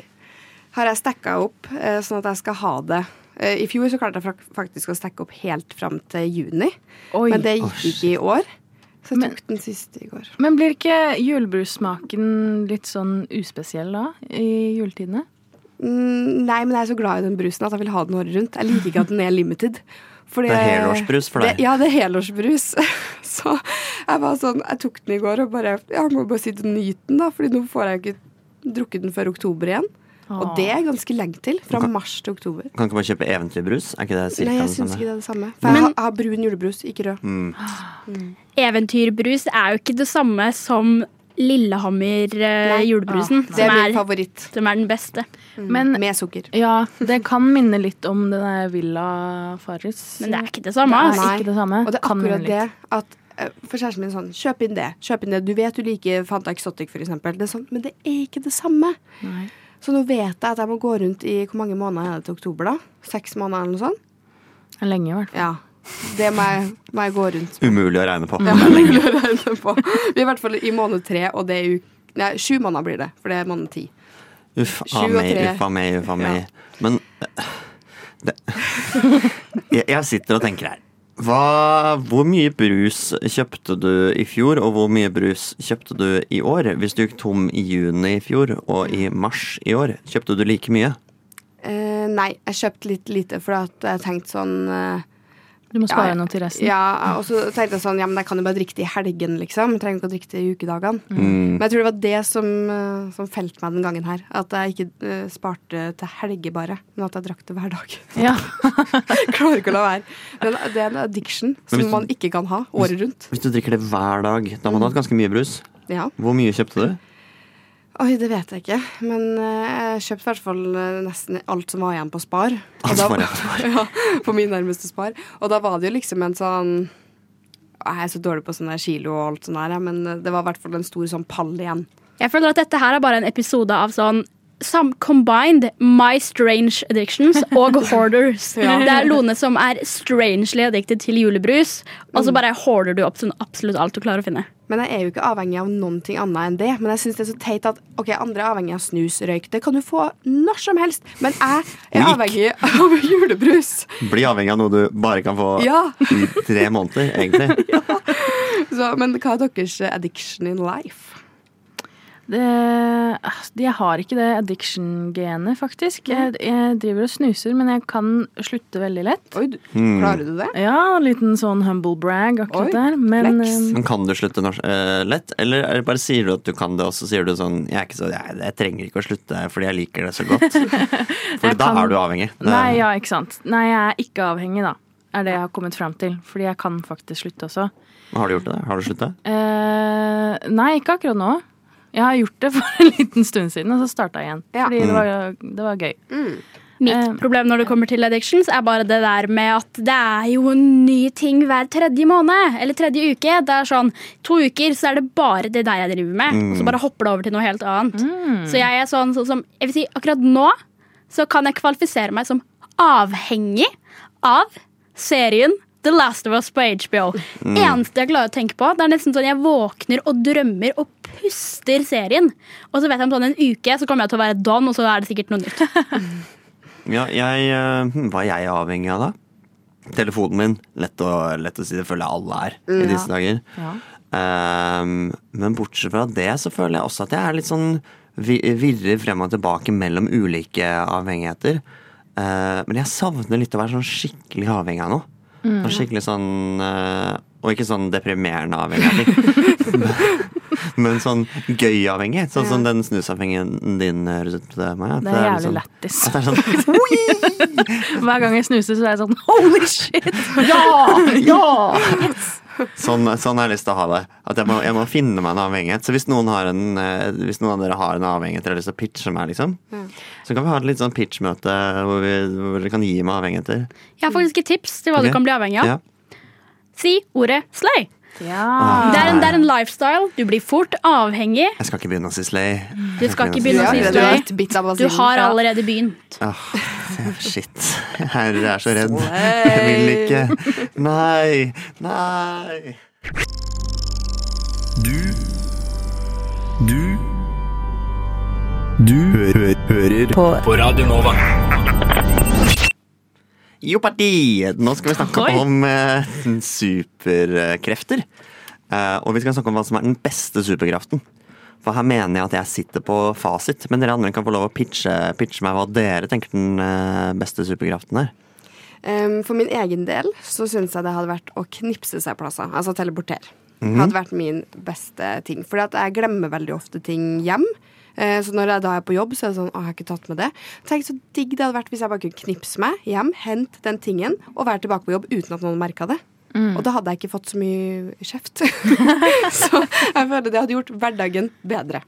Har jeg stekka opp eh, sånn at jeg skal ha det. Eh, I fjor så klarte jeg frak- faktisk å stekke opp helt fram til juni,
Oi.
men det gikk ikke i år. Så jeg
Men-
tok den siste i går.
Men blir ikke julebrussmaken litt sånn uspesiell da, i juletidene?
Mm, Nei, men jeg er så glad i den brusen at jeg vil ha den året rundt. Jeg liker ikke at den er limited. Fordi-
Det er helårsbrus for deg.
Det, ja, det er helårsbrus. Så jeg var sånn, jeg tok den i går og bare Jeg må bare sitte og nyte den, da, Fordi nå får jeg jo ikke drukket den før oktober igjen. Og det er ganske lenge til. Fra mars til oktober.
Kan ikke man kjøpe eventyrbrus? Er ikke det cirka
Nei, jeg
det
syns
samme? Mm.
ikke det er det samme. For jeg har, jeg har brun julebrus, ikke rød.
Eventyrbrus er jo ikke det samme som
Nei. Ah,
Lillehammer-julebrusen,
Det er min
som, er-
favoritt.
som er den beste.
Men
Med sukker.
ja, det kan minne litt om det der Villa Farris.
Men det er ikke det samme.
Nei,
altså. ass.
Nei.
ikke det samme.
Og det er
Kan
akkurat
minne
det
litt.
at eh, for kjæresten min er sånn Kjøp inn det. Kjøp inn det. Du vet du liker Fanta Exotic, for eksempel. Det er sånn, men det er ikke det samme.
Nei.
Så nå vet jeg at jeg må gå rundt i Hvor mange måneder er det til oktober, da? Seks måneder eller noe sånt?
Lenge, i hvert fall.
Ja. Det må jeg, må jeg gå rundt
Umulig å regne på.
Det er mulig å regne på. Vi er i hvert fall i måned tre, og det er uke Nei, sju måneder blir det, for det er måned ti.
Uff
Sju
a
og
meg,
tre.
uff a meg, uff a meg. Men eh, det, jeg, jeg sitter og tenker her. Hva, hvor mye brus kjøpte du i fjor, og hvor mye brus kjøpte du i år? Hvis du gikk tom i juni i fjor og i mars i år, kjøpte du like mye?
Eh, nei, jeg kjøpte litt lite, for at jeg tenkte sånn eh,
Du må spare
Ja,
noe til resten.
Ja, og så tenkte jeg sånn Ja, men jeg kan jo bare drikke det i helgen, liksom. Jeg trenger ikke å drikke det i ukedagene.
Mm.
Men jeg tror det var det som, eh, som felte meg den gangen her. At jeg ikke eh, sparte til helger bare, men at jeg drakk det hver dag.
Ja.
Klarer ikke å la være. Det er en- det er en addiction som
hvis du-
man ikke kan ha året rundt.
Hvis du drikker det hver dag, da må du ha hatt ganske mye brus.
Ja.
Hvor mye kjøpte du?
Oi, det vet jeg ikke. Men eh, jeg kjøpte i hvert fall eh, nesten alt som var igjen på Spar. Og
Alt
da-
som var igjen på
ja, på min nærmeste Spar. Og da var det jo liksom en sånn Jeg er så dårlig på sånn der kilo og alt sånn her, jeg, men eh, det var i hvert fall en stor sånn pall igjen.
Jeg føler at dette her er bare en episode av sånn sam combined My Strange Addictions og Hoarders. Det er Lone som er strangely addicted til julebrus, og så bare hoarder du opp sånn absolutt alt du klarer å finne.
Men jeg er jo ikke avhengig av noen ting annet enn det. Men jeg syns det er så teit at ok, andre er avhengig av snus, røyk. Det kan du få når som helst. Men jeg er
Lik.
avhengig av julebrus.
Bli avhengig av noe du bare kan få
Ja.
i tre måneder, egentlig.
Så, men hva er deres addiction in life?
Det, ah, jeg har ikke det addiction-genet, faktisk. Jeg, jeg driver og snuser, men jeg kan slutte veldig lett.
Oi, du- klarer
Hmm.
du det?
Ja, en liten sånn humble brag akkurat
Oi,
der. Men
flex.
eh,
Men kan du slutte norsk, eh, lett, eller er det bare sier du at du kan det, og så sier du sånn Jeg, er ikke så, jeg, jeg trenger ikke å slutte fordi jeg liker det så godt. For
Jeg
da
kan-
er du avhengig. Det-
nei, ja, ikke sant. Nei, jeg er ikke avhengig, da. Er det jeg har kommet fram til. Fordi jeg kan faktisk slutte også.
Har du gjort det? Har du sluttet?
Eh, nei, ikke akkurat nå. Jeg har gjort det for en liten stund siden, og så starta jeg igjen.
Ja.
Fordi
Mm.
det var, det var gøy. Eh.
Mitt problem når det kommer til addictions, er bare det der med at det er jo en ny ting hver tredje måned eller tredje uke. Det er sånn to uker, så er det bare det der jeg driver med. Og så bare hopper det over til noe helt annet. Så jeg er sånn, sånn som Jeg vil si akkurat nå så kan jeg kvalifisere meg som avhengig av serien The Last of Us på HBO. Eneste jeg klarer å tenke på, det er nesten sånn jeg våkner og drømmer og puster serien. Og så vet jeg om sånn en uke så kommer jeg til å være don, og så er det sikkert noe nytt.
Ja, jeg, eh, hm, hva er jeg avhengig av, da? Telefonen min. Lett å, lett å si det føler jeg alle er i disse dager. Ehm, men bortsett fra det så føler jeg også at jeg er litt sånn vi- virrer frem og tilbake mellom ulike avhengigheter. Eh, men jeg savner litt å være sånn skikkelig avhengig av noe.
Mm.
Sånn Skikkelig sånn eh, Og ikke sånn deprimerende avhengig av ting. men sånn gøy avhengighet. Sånn som den snusavhengigheten din, eh, Ruth. Maja, at
Det er
litt
jævlig
sånn-
lættis.
At det er sånn
Hver gang jeg snuser, så er jeg sånn holy shit! Ja!
Sånn, sånn har jeg lyst til å ha det. At jeg må, jeg må finne meg en avhengighet. Så hvis noen, har en, eh, hvis noen av dere har en avhengighet dere har lyst til å pitche meg, liksom,
Mm.
så kan vi ha et litt sånn pitchmøte hvor, vi- hvor dere kan gi meg avhengigheter.
Jeg har faktisk et tips til hva
Ok.
du kan bli avhengig av.
Ja.
Si ordet slay.
ja.
Det er, en, det er en lifestyle. Du blir fort avhengig.
Jeg skal ikke begynne å si slay.
Du skal
altså.
ikke begynne
Ja,
å si
det
slay.
var et bit av
Du
basillen.
har
Ja.
allerede begynt.
Åh, shit. Herre, jeg er så redd. Jeg vil ikke. Nei. Nei.
Du Du Du hø hø hører på. Radio Nova.
Jopparti! Nå skal vi snakke
Oi.
om eh, superkrefter. Eh, og vi skal snakke om hva som er den beste superkraften. For her mener jeg at jeg sitter på fasit, men dere andre kan få lov å pitche, pitche meg hva dere tenker den eh, beste superkraften er.
Ehm, for min egen del så syns jeg det hadde vært å knipse seg plasser. Altså teleportere. Hadde vært min beste ting. Fordi at jeg glemmer veldig ofte ting hjem. Eh, Så når jeg da er på jobb, så er det sånn Å, jeg har ikke tatt med det. Tenk så digg det hadde vært hvis jeg bare kunne knipse meg hjem, hente den tingen og være tilbake på jobb uten at noen merka det.
Mm.
Og da hadde jeg ikke fått så mye kjeft. så jeg føler det hadde gjort hverdagen bedre.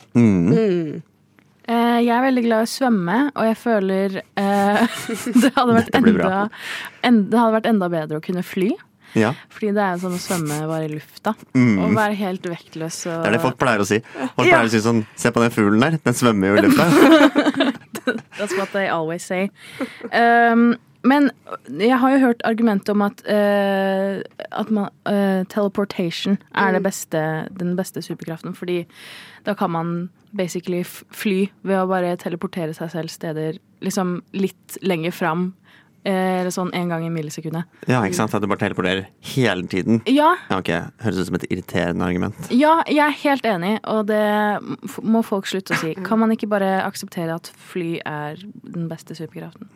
Eh, Jeg er veldig glad i å svømme, og jeg føler eh, det, hadde vært
Dette blir bra.
enda, en, det hadde vært enda bedre å kunne fly.
Ja,
Fordi det er jo som å svømme bare i lufta. Og være helt vektløs. Og,
Mm. Det er det folk pleier å si. Folk pleier å si sånn Se på den fuglen der, den svømmer jo i lufta.
That's what they always say. Um, men jeg har jo hørt argumentet om at, eh, at man, eh, teleportation er det beste, den beste superkraften. Fordi da kan man basically f- fly ved å bare teleportere seg selv steder liksom litt lenger fram. eh, Eller sånn en gang i millisekundet.
Ja, ikke sant? At du bare teleporterer hele tiden.
Ja,
Ja, ok, Høres ut som et irriterende argument.
ja, jeg er helt enig, og det f- må folk slutte å si. Kan man ikke bare akseptere at fly er den beste superkraften?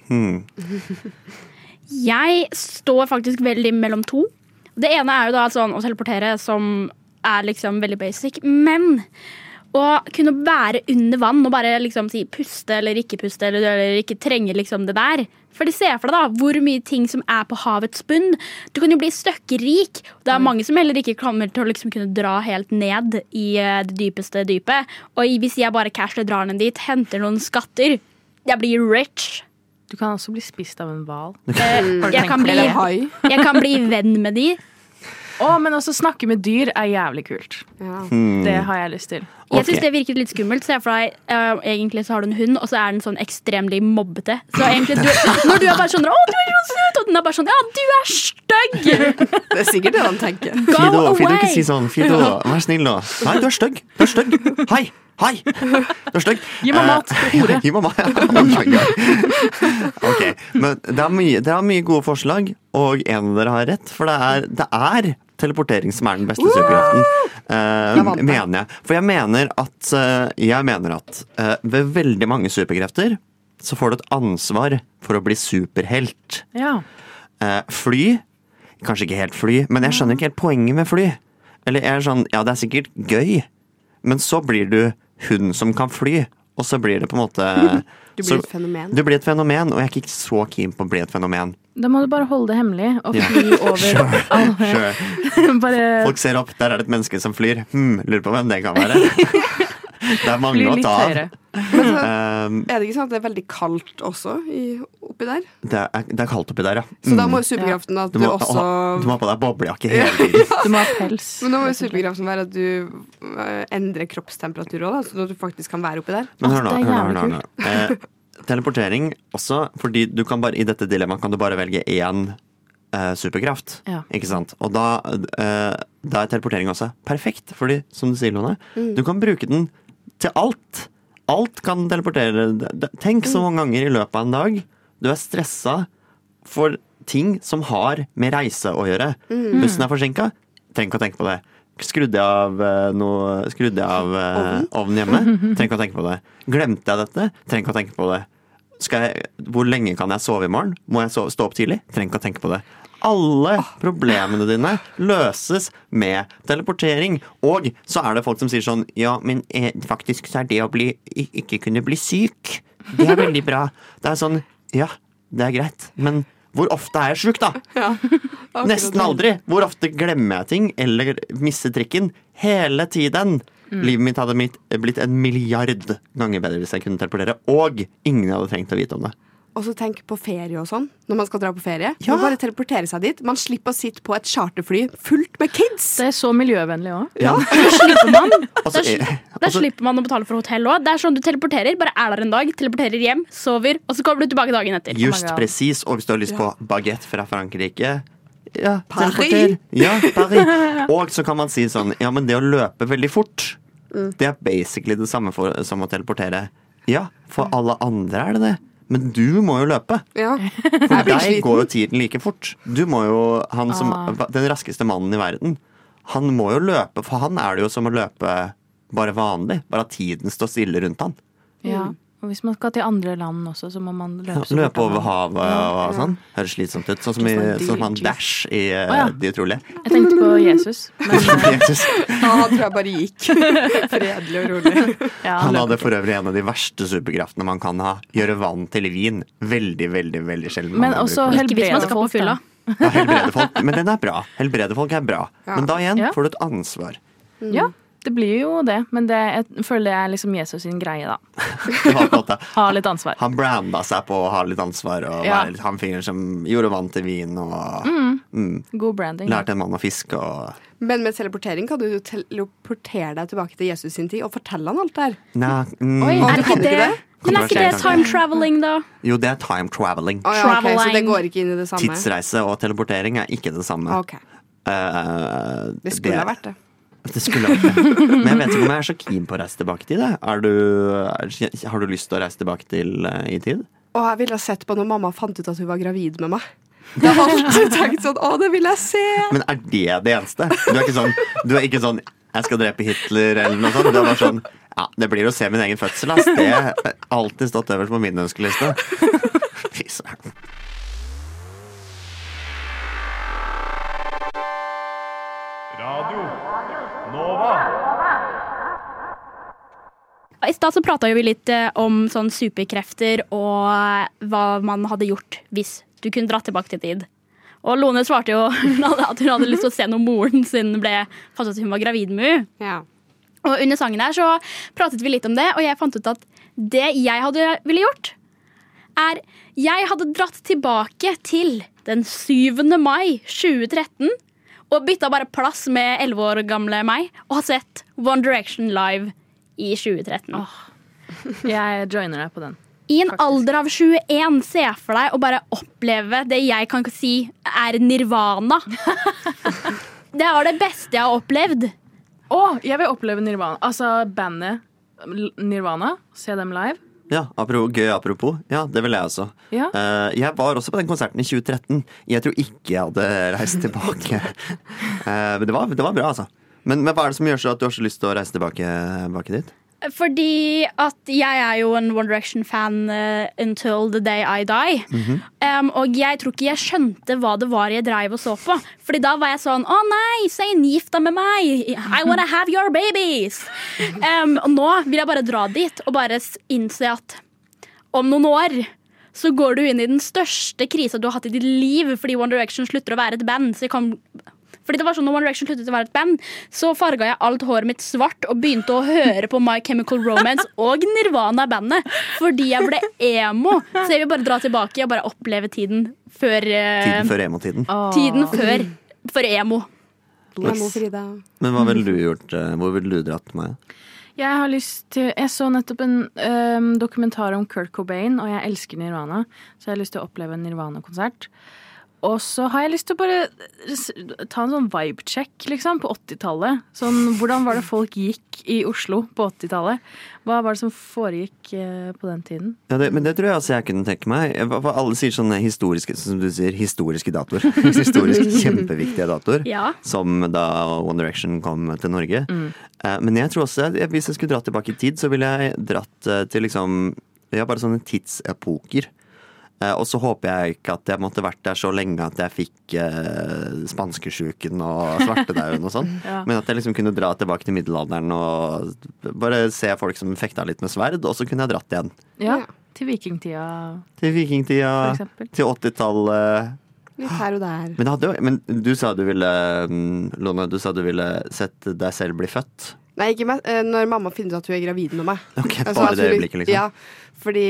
Jeg står faktisk veldig mellom to. Det ene er jo da sånn å teleportere, som er liksom veldig basic. Men å kunne være under vann og bare liksom si puste eller ikke puste eller, eller ikke trenge liksom det der. For se for deg da, hvor mye ting som er på havets bunn. Du kan jo bli støkkrik. Det er mange som heller ikke kommer til å liksom kunne dra helt ned i eh, det dypeste dypet. Og i- hvis jeg bare casually drar ned dit, henter noen skatter, jeg blir rich.
Du kan også bli spist av en hval.
Eh, Jeg kan bli
Eller hai.
jeg kan bli venn med de.
Å, men også snakke med dyr er jævlig kult.
Ja.
Hmm.
Det har jeg lyst til.
Jeg synes
Ok.
det virket litt skummelt. Se for deg, eh, egentlig så har du en hund, og så er den sånn ekstremt mobbete. Så egentlig, du, når du er bare sånn 'Å, du er sånn søt', og den er bare sånn 'Ja, du er stygg'.
Det er sikkert det han tenker.
Fido, Fido, ikke
away!
si sånn. Fido, vær snill nå. Nei, du er stygg. Du er stygg. Hei! Hei! Du er stygg.
Gi meg mat,
Eh,
hore.
Gi meg mat. ja. Oh my God. ok, men det er, mye, det er mye gode forslag, og en av dere har rett, for det er, det er teleportering som er den beste superkraften. eh,
Jeg vant det.
mener jeg. For jeg mener at, eh, jeg mener at eh, ved veldig mange superkrefter så får du et ansvar for å bli superhelt.
Ja.
Eh, fly Kanskje ikke helt fly, men jeg skjønner ikke helt poenget med fly. Eller jeg er sånn, ja det er sikkert gøy, men så blir du hun som kan fly, og så blir det på en måte
Du
så-
blir et fenomen.
Du blir et fenomen, og jeg er ikke så keen på å bli et fenomen.
Da må du bare holde det hemmelig og
Ja.
fly over alle
Sure.
Bare
Folk ser opp, der er det et menneske som flyr. Hm, lurer på hvem det kan være. Det er mange
fly
å
litt
ta av.
høyere.
Men så
Eh,
er det ikke sånn at det er veldig kaldt også i, oppi der?
det, er, det er kaldt oppi der, ja.
Så da må
Mm.
jo superkraften at
du
du,
må,
også
ha- du må ha på deg boblejakke hele tiden.
Du må ha pels.
Men nå må jo superkraften være at du eh, endrer kroppstemperatur òg, sånn at du faktisk kan være oppi der.
Men hør nå,
Alt er
hør nå, hør
jævlig
nå, hør nå. Eh, teleportering også, fordi du kan bare, i dette dilemmaet kan du bare velge én eh, superkraft.
Ja.
Ikke sant? Og da, eh, da er teleportering også perfekt, fordi som du sier, Lone,
Mm.
du kan bruke den til alt. Alt kan teleportere. D- d- Tenk
Mm.
så mange ganger i løpet av en dag du er stressa for ting som har med reise å gjøre. Bussen er forsinka, trenger ikke å tenke på det. Skrudde jeg av, eh, noe, skrudde jeg av eh, ovnen hjemme? Trenger ikke å tenke på det. Glemte jeg dette? Trenger ikke å tenke på det. Skal jeg, hvor lenge kan jeg sove i morgen? Må jeg sove, stå opp tidlig? Trenger ikke å tenke på det. Alle problemene dine løses med teleportering. Og så er det folk som sier sånn Ja, men eh, faktisk så er det å bli, i- ikke kunne bli syk, det er veldig bra. Det er sånn Ja, det er greit, men hvor ofte er jeg sjuk, da?
Akkurat
Nesten
det.
aldri. Hvor ofte glemmer jeg ting eller mister trikken? Hele tiden.
Mm.
Livet mitt hadde mitt, blitt en milliard ganger bedre hvis jeg kunne teleportere. Og ingen hadde trengt å vite om det.
Og så tenk på ferie og sånn, når man skal dra på ferie.
Ja.
Man bare teleporterer seg dit. Man slipper å sitte på et charterfly fullt med kids.
Det er så miljøvennlig òg.
Ja.
Slipper man. Da
Altså,
sli-
eh,
Da
altså,
slipper man å betale for hotell òg. Det er sånn du teleporterer. Bare er der en dag, teleporterer hjem, sover, og så kommer du tilbake dagen etter.
just
God.
presis. Og hvis du har lyst på baguette fra Frankrike ja,
Paris.
teleporter. Ja, Paris. Og så kan man si sånn Ja, men det å løpe veldig fort, det er basically det samme for, som å teleportere. Ja, for alle andre er det det. Men du må jo løpe.
Ja.
For deg går jo tiden like fort. Du må jo, han som,
Ah.
Den raskeste mannen i verden, han må jo løpe, for han er det jo som å løpe bare vanlig. Bare at tiden står stille rundt han.
Mm.
Ja. Og hvis man skal til andre land også, så må man løpe så fort
Løpe
man
over
kan.
havet og sånn. Høres slitsomt ut. Sånn som, i,
Just like
sånn som han
Jesus.
Dash i eh,
Å, ja.
De utrolige.
Jeg tenkte på Jesus, men
Jesus.
Han tror jeg bare gikk fredelig og rolig.
ja,
Han
løper
hadde for øvrig en av de verste superkraftene man kan ha. Gjøre vann til vin. Veldig, veldig veldig sjelden. man
Men
kan
også
bruke det.
Ikke hvis man
helbrede
skal på
folk, da.
fylla.
Ja, helbrede folk. Men den er bra. Helbrede folk er bra.
Ja.
Men da igjen
Ja.
får du et ansvar.
Ja, det blir jo det. Men det, jeg føler det er liksom Jesus sin greie, da.
Det var på en måte
Ha litt ansvar.
Han branda seg på å ha litt ansvar og
Ja. Mm.
være litt han fyren som gjorde vann til vin og
God branding.
lærte en mann å fiske og
Men med teleportering kan du jo teleportere deg tilbake til Jesus sin tid og fortelle han alt det her.
Nei, mm,
Oi.
Å,
Er
du
ikke
kan
det?
ikke det?
Men er ikke det time traveling, da?
Jo, det er time traveling.
Å, ja, ok, så det
Traveling.
går ikke inn i det samme?
Tidsreise og teleportering er ikke det samme.
Ok.
Eh,
Det skulle ha vært det.
Det skulle ha vært det. Men jeg vet ikke om jeg er så keen på å reise tilbake til det. Er du, er, har du lyst til å reise tilbake til eh, i tid?
Og jeg ville ha sett på når mamma fant ut at hun var gravid med meg. Jeg har alltid tenkt sånn Å, det vil jeg se!
Men er det det eneste? Du er ikke sånn, du er ikke sånn 'jeg skal drepe Hitler' eller noe sånt. Du er bare sånn ja, 'det blir å se min egen fødsel', ass. Det har alltid stått øverst på min ønskeliste. Fy søren.
Radio Nova.
I stad så prata jo vi litt eh, om sånn superkrefter og eh, hva man hadde gjort hvis du kunne dratt tilbake til tid. Og Lone svarte jo hun hadde- at hun hadde lyst til å se når moren sin ble fant ut at hun var gravid med henne.
Ja.
Og under sangen her så pratet vi litt om det, og jeg fant ut at det jeg hadde ville gjort, er Jeg hadde dratt tilbake til den 7. mai 2013 og bytta bare plass med 11 år gamle meg og har sett One Direction live i 2013.
Jeg joiner deg på den.
I en alder av 21 se for deg å bare oppleve det jeg kan si er nirvana. Det var det beste jeg har opplevd.
Å, jeg vil oppleve Nirvana. Altså bandet L- Nirvana. Se dem live.
Ja, apropos, gøy apropos. Ja, det vil jeg også.
Ja.
Eh, jeg var også på den konserten i 2013. Jeg tror ikke jeg hadde reist tilbake. Eh, men det var, det var bra, altså. Men, men hva er det som gjør så at du har så lyst til å reise tilbake, tilbake dit?
Fordi at jeg er jo en One Direction-fan eh, until the day I die. um, og jeg tror ikke jeg skjønte hva det var jeg dreiv og så på. Fordi da var jeg sånn Å nei, Zain, gift deg med meg! I wanna have your babies! Um, og nå vil jeg bare dra dit og bare s- innse at om noen år så går du inn i den største krisa du har hatt i ditt liv fordi One Direction slutter å være et band. Så jeg kom fordi det var sånn når One Direction sluttet å være et band, så farga jeg alt håret mitt svart og begynte å høre på My Chemical Romance og Nirvana-bandet. Fordi jeg ble emo. Så jeg vil bare dra tilbake og bare oppleve tiden før eh,
Tiden før emotiden.
Tiden før, for emo.
Emo Frida.
Men hva ville du gjort? eh, Hvor ville du dratt meg?
Jeg har lyst til Jeg så nettopp en øhm, dokumentar om Kurt Cobain, og jeg elsker Nirvana, så jeg har lyst til å oppleve en Nirvana-konsert. Og så har jeg lyst til å bare s- ta en sånn vibe-check, liksom, på 80-tallet. Sånn, hvordan var det folk gikk i Oslo på 80-tallet? Hva var det som foregikk eh, på den tiden?
Ja, det, men det tror jeg også jeg kunne tenke meg. Hva- hva Alle sier sånne historiske som du sier, historiske datoer. Historisk kjempeviktige datoer.
Ja.
Som da One Direction kom til Norge. Eh, Men jeg tror også at jeg- hvis jeg skulle dratt tilbake i tid, så ville jeg dratt eh, til liksom Ja, bare sånne tidsepoker. Eh, Og så håper jeg ikke at jeg måtte vært der så lenge at jeg fikk eh, spanskesjuken og svartedauden og sånn. Men at jeg liksom kunne dra tilbake til middelalderen og bare se folk som fekta litt med sverd, og så kunne jeg dratt igjen.
Ja, til vikingtida.
Til
For
vikingtida,
eksempel.
til 80-tallet.
Litt her og der.
Men, det hadde jo- men du sa du ville mm, Lone, du sa du ville sett deg selv bli født.
Nei, ikke meg. eh, Når mamma finner ut at hun er gravid med meg.
Ok,
Altså,
Bare
at
det
hun-
øyeblikket, liksom.
Ja, fordi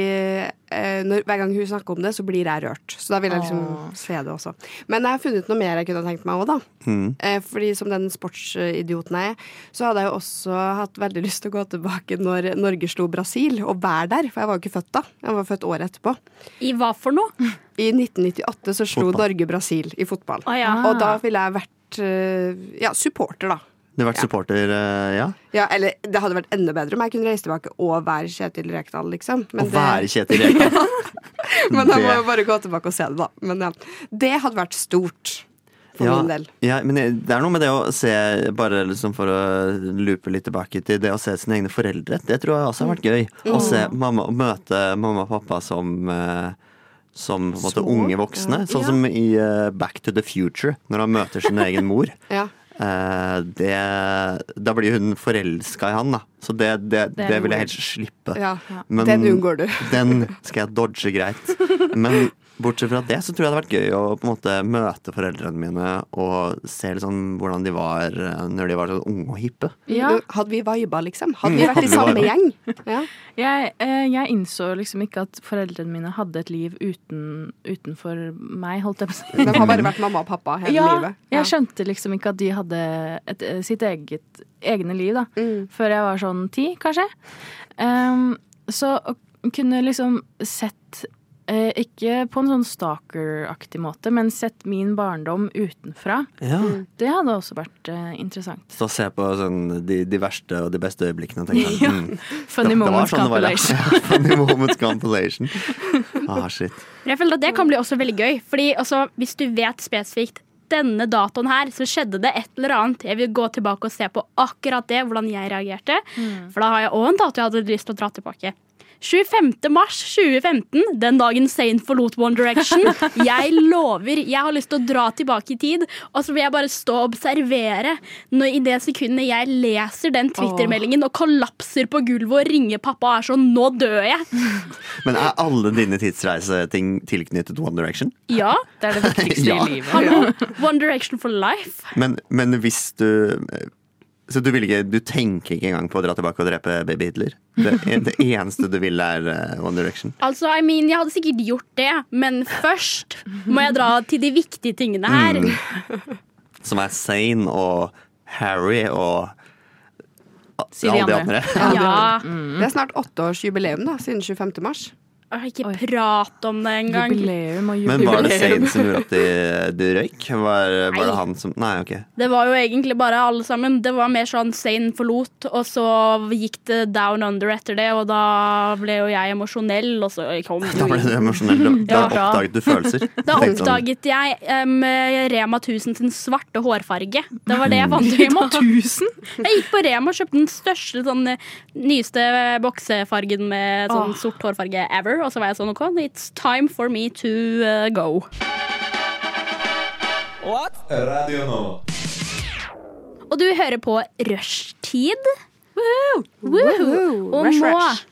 eh, når, hver gang hun snakker om det, så blir jeg rørt. Så da vil jeg liksom se det også. Men jeg har funnet noe mer jeg kunne ha tenkt meg òg, da.
Mm.
Eh, fordi som den sportsidioten jeg er, så hadde jeg jo også hatt veldig lyst til å gå tilbake når Norge slo Brasil, og være der. For jeg var jo ikke født da. Jeg var født året etterpå.
I hva for noe?
I 1998 så slo
Fotball.
Norge Brasil i fotball.
Å ja. Ah.
Og da ville jeg vært eh, ja, supporter, da.
Du har vært supporter, eh, ja?
Ja, eller det hadde vært enda bedre om jeg kunne reise tilbake og være Kjetil Rekdal, liksom. Men
Å være Kjetil Rekdal.
Men jeg må
Det-
jo bare gå tilbake og se det, da. Men ja. Det hadde vært stort for
Ja,
min del.
ja, men det er noe med det å se, bare liksom for å loope litt tilbake til det å se sine egne foreldre. Det tror jeg også har vært gøy.
Mm.
Å se mamma, å møte mamma og pappa som eh, som på en måte
Små,
unge voksne.
ja.
Sånn som i eh, Back to the Future, når han møter sin egen mor.
Ja.
Eh, det, da blir hun forelska i han, da. Så det, det, det,
er
vil jeg
moro.
helst slippe.
Ja.
Men-
Den unngår du.
Den skal jeg dodge greit. Men bortsett fra det så tror jeg det hadde vært gøy å på en måte møte foreldrene mine og se litt sånn hvordan de var eh, når de var sånn unge og hippe.
Mm.
Ja.
Hadde vi viba, liksom? Hadde vi vært
Mm, Hadde
i
vi
samme
vibet.
gjeng? Ja.
Jeg, eh, jeg innså liksom ikke at foreldrene mine hadde et liv uten, utenfor meg, holdt jeg på å si.
De har bare vært mamma og pappa hele livet.
Jeg skjønte liksom ikke at de hadde et, eh, sitt eget egne liv, da. Før jeg var sånn ti, kanskje. Ehm, så å kunne liksom sett eh, ikke på en sånn stalker-aktig måte, men sett min barndom utenfra.
Ja.
Det hadde også vært eh, interessant.
Så se på sånn, de, de verste og de beste øyeblikkene. og tenke sånn,
Ja.
mm,
Funny
det- det var
moments
sånn det var, ja.
compilation.
Ja, Funny moments compilation. Ah, shit.
Men Jeg føler at det kan bli også veldig gøy. Fordi altså, Hvis du vet spesifikt denne datoen her, så skjedde det et eller annet. Jeg vil gå tilbake og se på akkurat det, hvordan jeg reagerte. For da har jeg òg en dato jeg hadde lyst til å dra tilbake. 25. mars 2015, den dagen Zain forlot One Direction. Jeg lover, jeg har lyst til å dra tilbake i tid, og så vil jeg bare stå og observere når i det sekundet jeg leser den Twitter-meldingen og kollapser på gulvet og ringer pappa og er sånn 'nå dør jeg'.
Men er alle dine tidsreiseting tilknyttet One Direction?
Ja,
Det er det viktigste
Ja.
i livet.
Hallo, One Direction for life.
Men, men hvis du Så du, vil ikke, du tenker ikke engang på å dra tilbake og drepe baby Hitler? Det, det eneste du vil, er eh, One Direction?
Altså, I mean, Jeg hadde sikkert gjort det, men først må jeg dra til de viktige tingene her.
Mm. Som er Zain og Harry og
Si de
alle
andre.
de andre.
Ja,
Mm. Det er snart åtteårsjubileum da, siden 25. mars.
Åh, Ikke prat om det engang.
Jubileum og
Men
jubileum.
var det Zaid som gjorde at de, de røyk? Var, var
Nei.
det han som Nei, OK.
Det var jo egentlig bare alle sammen. Det var mer sånn Zain forlot, og så gikk det down under etter det, og da ble jo jeg emosjonell, og så kom
Da ble du emosjonell. Da,
Ja.
da oppdaget du følelser.
Da
Tenkte sånn,
oppdaget jeg em, Rema 1000 sin svarte hårfarge. Det var det jeg fant ut
Rema
av.
1000?
Jeg gikk på Rema og kjøpte den største, sånn, eh, nyeste boksefargen med sånn sort hårfarge ever. Og så var jeg sånn OK, it's time for me to eh, go. Og du hører på Rushtid. Woohoo! Og
Rush,
nå,
rush.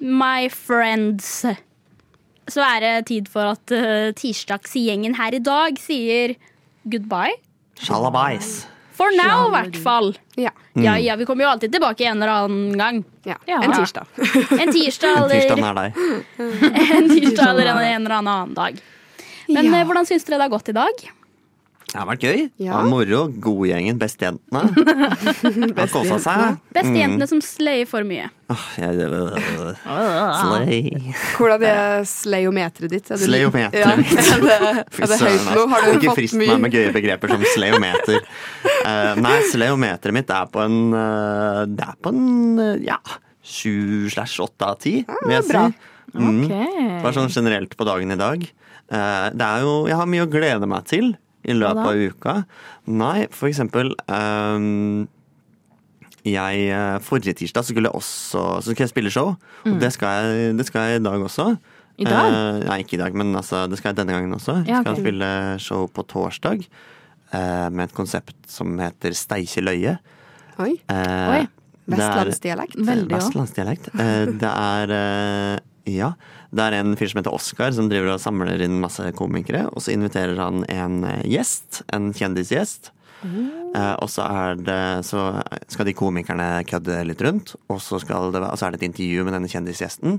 my friends, så er det tid for at eh, tirsdagsgjengen her i dag sier goodbye.
Shalabais.
For now, i hvert fall.
Ja.
Ja,
Mm.
ja, vi kommer jo alltid tilbake en eller annen gang.
ja.
Ja.
En tirsdag.
En tirsdag
En tirsdag
eller
nær deg.
en, tirsdag eller en, en eller annen dag. Men
Ja.
eh, hvordan syns dere det har gått i dag?
Det har vært gøy. Det
Ja.
var Moro. Godgjengen. Bestejentene. Har kosa seg.
Bestejentene som slayer for mye.
Åh, Ah, jeg- Slay.
Hvordan er sleiometeret ditt? Er du-
Sleiometeret.
Ja. Er det, er det høyt nå? Har du
altså. Ikke
fått
frist meg
mye?
med gøye begreper som sleometer. Eh, nei, sleometeret mitt er på en eh, Det er på en eh, ja, sju slash åtte av ti, vil jeg
Ah, bra.
si. Mm.
Ok.
Bare sånn generelt på dagen i dag. Eh, Det er jo, jeg har mye å glede meg til i løpet av uka. Nei, for eksempel ehm, jeg, eh, Forrige tirsdag så skulle jeg også så skulle jeg spille show. Og det skal, jeg, det skal jeg i dag også.
Mm. I dag?
Eh, nei, ikke i dag, men altså, det skal jeg denne gangen også.
Ja,
Jeg skal
ok.
spille show på torsdag eh, med et konsept som heter Steikje løye.
Oi.
Eh,
Oi,
det er-
Vestlandsdialekt.
Veldig òg.
Vestlandsdialekt. Eh, Det er eh, Ja. Det er en fyr som heter Oskar, som driver og samler inn masse komikere. Og så inviterer han en eh, gjest. En kjendisgjest. Eh, og så, er det, så skal de komikerne kødde litt rundt, og så, skal det, være- og så er det et intervju med denne kjendisgjesten.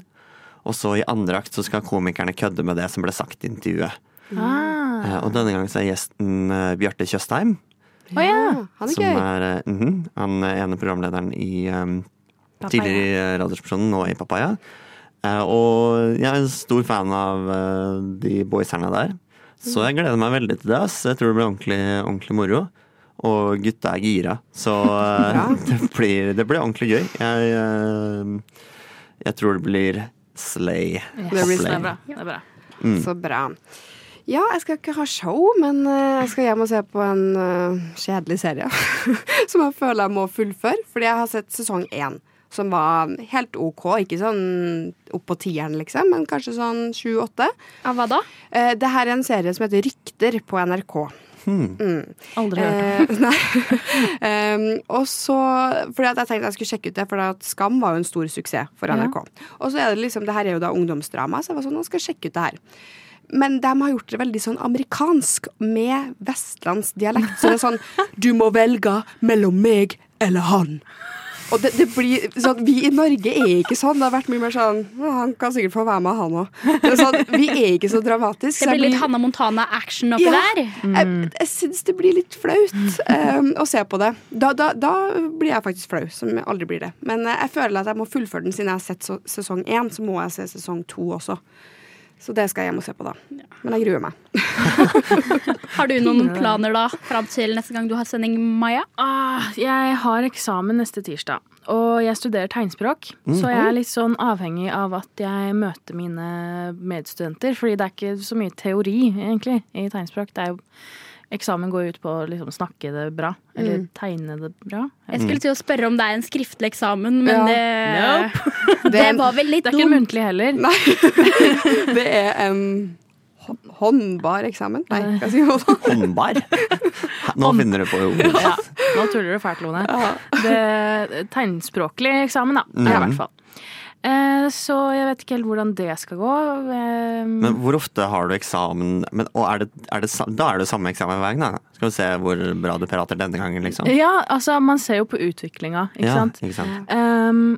Og så i andre akt så skal komikerne kødde med det som ble sagt i intervjuet.
Ah.
Eh, og denne gangen så er gjesten eh, Bjarte Tjøstheim.
Å ja.
Han er
Som
gøy.
er eh, mhm, han eh, ene programlederen i um, tidligere i eh, Radioresepsjonen, nå i Papaya. Eh, og jeg er en stor fan av eh, de boyserne der. Så jeg gleder meg veldig til det. ass. Jeg tror det blir ordentlig, ordentlig moro. Og gutta er gira. Så eh, det, blir, det blir ordentlig gøy. Jeg, eh, jeg tror det blir slay.
Det
blir
er bra. Det er bra.
mm.
Så bra. Ja, jeg skal ikke ha show, men eh, jeg skal hjem og se på en eh, kjedelig serie. som jeg føler jeg må fullføre, fordi jeg har sett sesong én. Som var helt OK. Ikke sånn opp på tieren, liksom, men kanskje sånn sju-åtte.
Av hva da?
Eh, det her er en serie som heter Rykter på NRK.
Aldri hørt om.
Eh, nei. Em, og så Fordi at jeg tenkte jeg skulle sjekke ut det, for at Skam var jo en stor suksess for NRK. Og så er det liksom Det her er jo da ungdomsdrama, så jeg var sånn Nå skal jeg sjekke ut det her. Men de har gjort det veldig sånn amerikansk, med vestlandsdialekt. Så det er sånn Du må velge mellom meg eller han. Og det, det blir sånn, Vi i Norge er ikke sånn. Det har vært mye mer sånn «Å, Han kan sikkert få være med, han òg. Sånn, vi er ikke så
Det
dramatiske. så jeg
blir litt Hanna Montana-action oppi der.
jeg, jeg syns det blir litt flaut eh, å se på det. Da, da, da blir jeg faktisk flau, som jeg aldri blir det. Men eh, jeg føler at jeg må fullføre den siden jeg har sett så, sesong én, så må jeg se sesong to også. Så det skal jeg hjem og se på, da. Men jeg gruer meg.
Har du noen planer da, fram til neste gang du har sending, Maja?
Ah, jeg har eksamen neste tirsdag, og jeg studerer tegnspråk.
Mm.
Så jeg er litt sånn avhengig av at jeg møter mine medstudenter. Fordi det er ikke så mye teori, egentlig, i tegnspråk. Det er jo, eksamen går jo ut på å liksom, snakke det bra. Eller
Mm.
tegne det bra.
Jeg skulle til å spørre om det er en skriftlig eksamen, men
Ja.
det, det,
Det er,
var vel litt
Eh, Det er ikke
dumt.
muntlig heller.
det er en hå- håndbar eksamen. Nei, hva sier man da?
Håndbar. Nå finner du på ord.
Ja, nå tuller du fælt, Lone. Det, tegnspråklig eksamen, da. er det I
Mhm.
hvert fall. Eh, så jeg vet ikke helt hvordan det skal gå. Eh,
Men hvor ofte har du eksamen? Men, og er det, er det, sa- da er det samme eksamen hver gang, da. Skal vi se hvor bra du prater denne gangen, liksom.
ja, altså, man ser jo på utviklinga, ikke
Ja,
sant.
Ikke sant?
Ehm,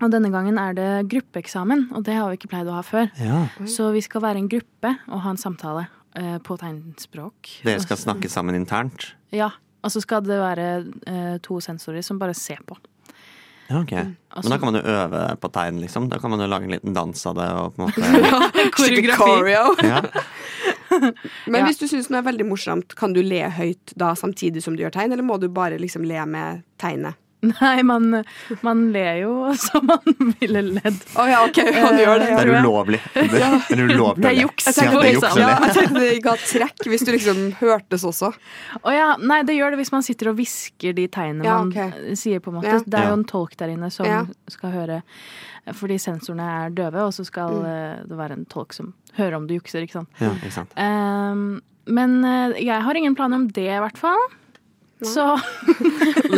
og denne gangen er det gruppeeksamen, og det har vi ikke pleid å ha før.
Ja.
Så vi skal være en gruppe og ha en samtale eh, på tegnspråk.
Dere skal snakke sammen internt.
Ja, og så skal det være eh, to sensorer som bare ser på.
Ja, ok. Men da kan man jo øve på tegn, liksom. Da kan man jo lage en liten dans av det. Og på en måte...
Stykke
Koreografi.
choreo.
ja.
Men
Ja.
hvis du syns noe er veldig morsomt, kan du le høyt da samtidig som du gjør tegn, eller må du bare liksom le med tegnet?
Nei, man, man ler jo som man ville ledd.
Å ja, OK, han
Eh,
gjør det.
Det
Ja.
er ulovlig. Det er ulovlig.
Det er juks.
Jeg
Ja,
tenkte,
det er
liksom-
juks,
ja,
eller?
jeg tenkte det ga trekk hvis du liksom hørtes også.
Å ja, nei, det gjør det hvis man sitter og hvisker de tegnene
Ja,
man eh, sier, på en måte.
Ja.
Det er
Ja.
jo en tolk der inne som
Ja.
skal høre, fordi sensorene er døve, og så skal
Mm.
eh, det være en tolk som hører om du jukser, ikke sant.
Ja, ikke sant.
Ehm, men eh, jeg har ingen planer om det, i hvert fall. Så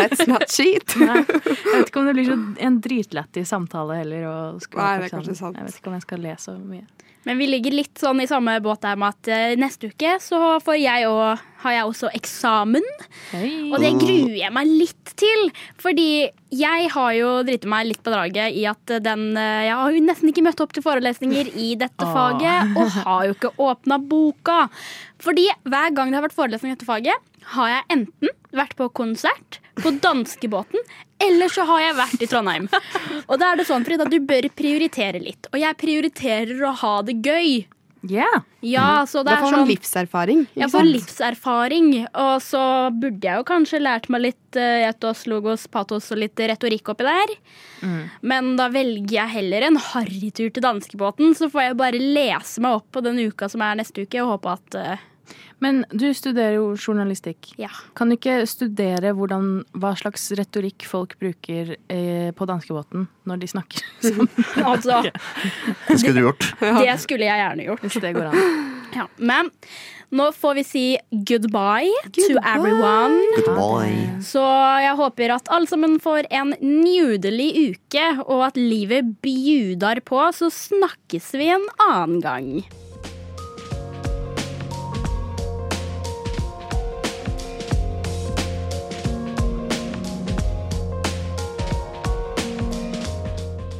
Let's not cheat.
nei, jeg vet ikke om det blir så en dritlættis samtale heller. Å skrive
Nei,
opp
det er kanskje
eksamen.
sant.
Jeg vet ikke om jeg skal le så mye.
Men vi ligger litt sånn i samme båt der med at eh, neste uke så får jeg og, har jeg også eksamen. Og
Mm.
det gruer jeg meg litt til. Fordi jeg har jo driti meg litt på draget i at den eh, Jeg har jo nesten ikke møtt opp til forelesninger i dette
Åh.
faget. Og har jo ikke åpna boka. Fordi hver gang det har vært forelesning i dette faget, har jeg enten vært på konsert på danskebåten, eller så har jeg vært i Trondheim. Og da er det sånn, Frida, du bør prioritere litt. Og jeg prioriterer å ha det gøy.
Yeah.
Ja, så det
Mhm. Da
er
får man
sånn
livserfaring. ikke
jeg får
sant?
livserfaring, og så burde jeg jo kanskje lært meg litt eh, etos, logos, patos og litt retorikk oppi der.
Mm.
Men da velger jeg heller en harrytur til danskebåten, så får jeg bare lese meg opp på den uka som er neste uke, og håpe at eh,
Men du studerer jo journalistikk.
ja.
Kan du ikke studere hvordan, hva slags retorikk folk bruker eh, på danskebåten når de snakker sammen?
Altså,
Det skulle du gjort.
det skulle jeg gjerne gjort.
Hvis det går an.
Ja. Men nå får vi si goodbye, to everyone.
Good boy.
Så jeg håper at alle sammen får en nydelig uke, og at livet bjudar på, så snakkes vi en annen gang.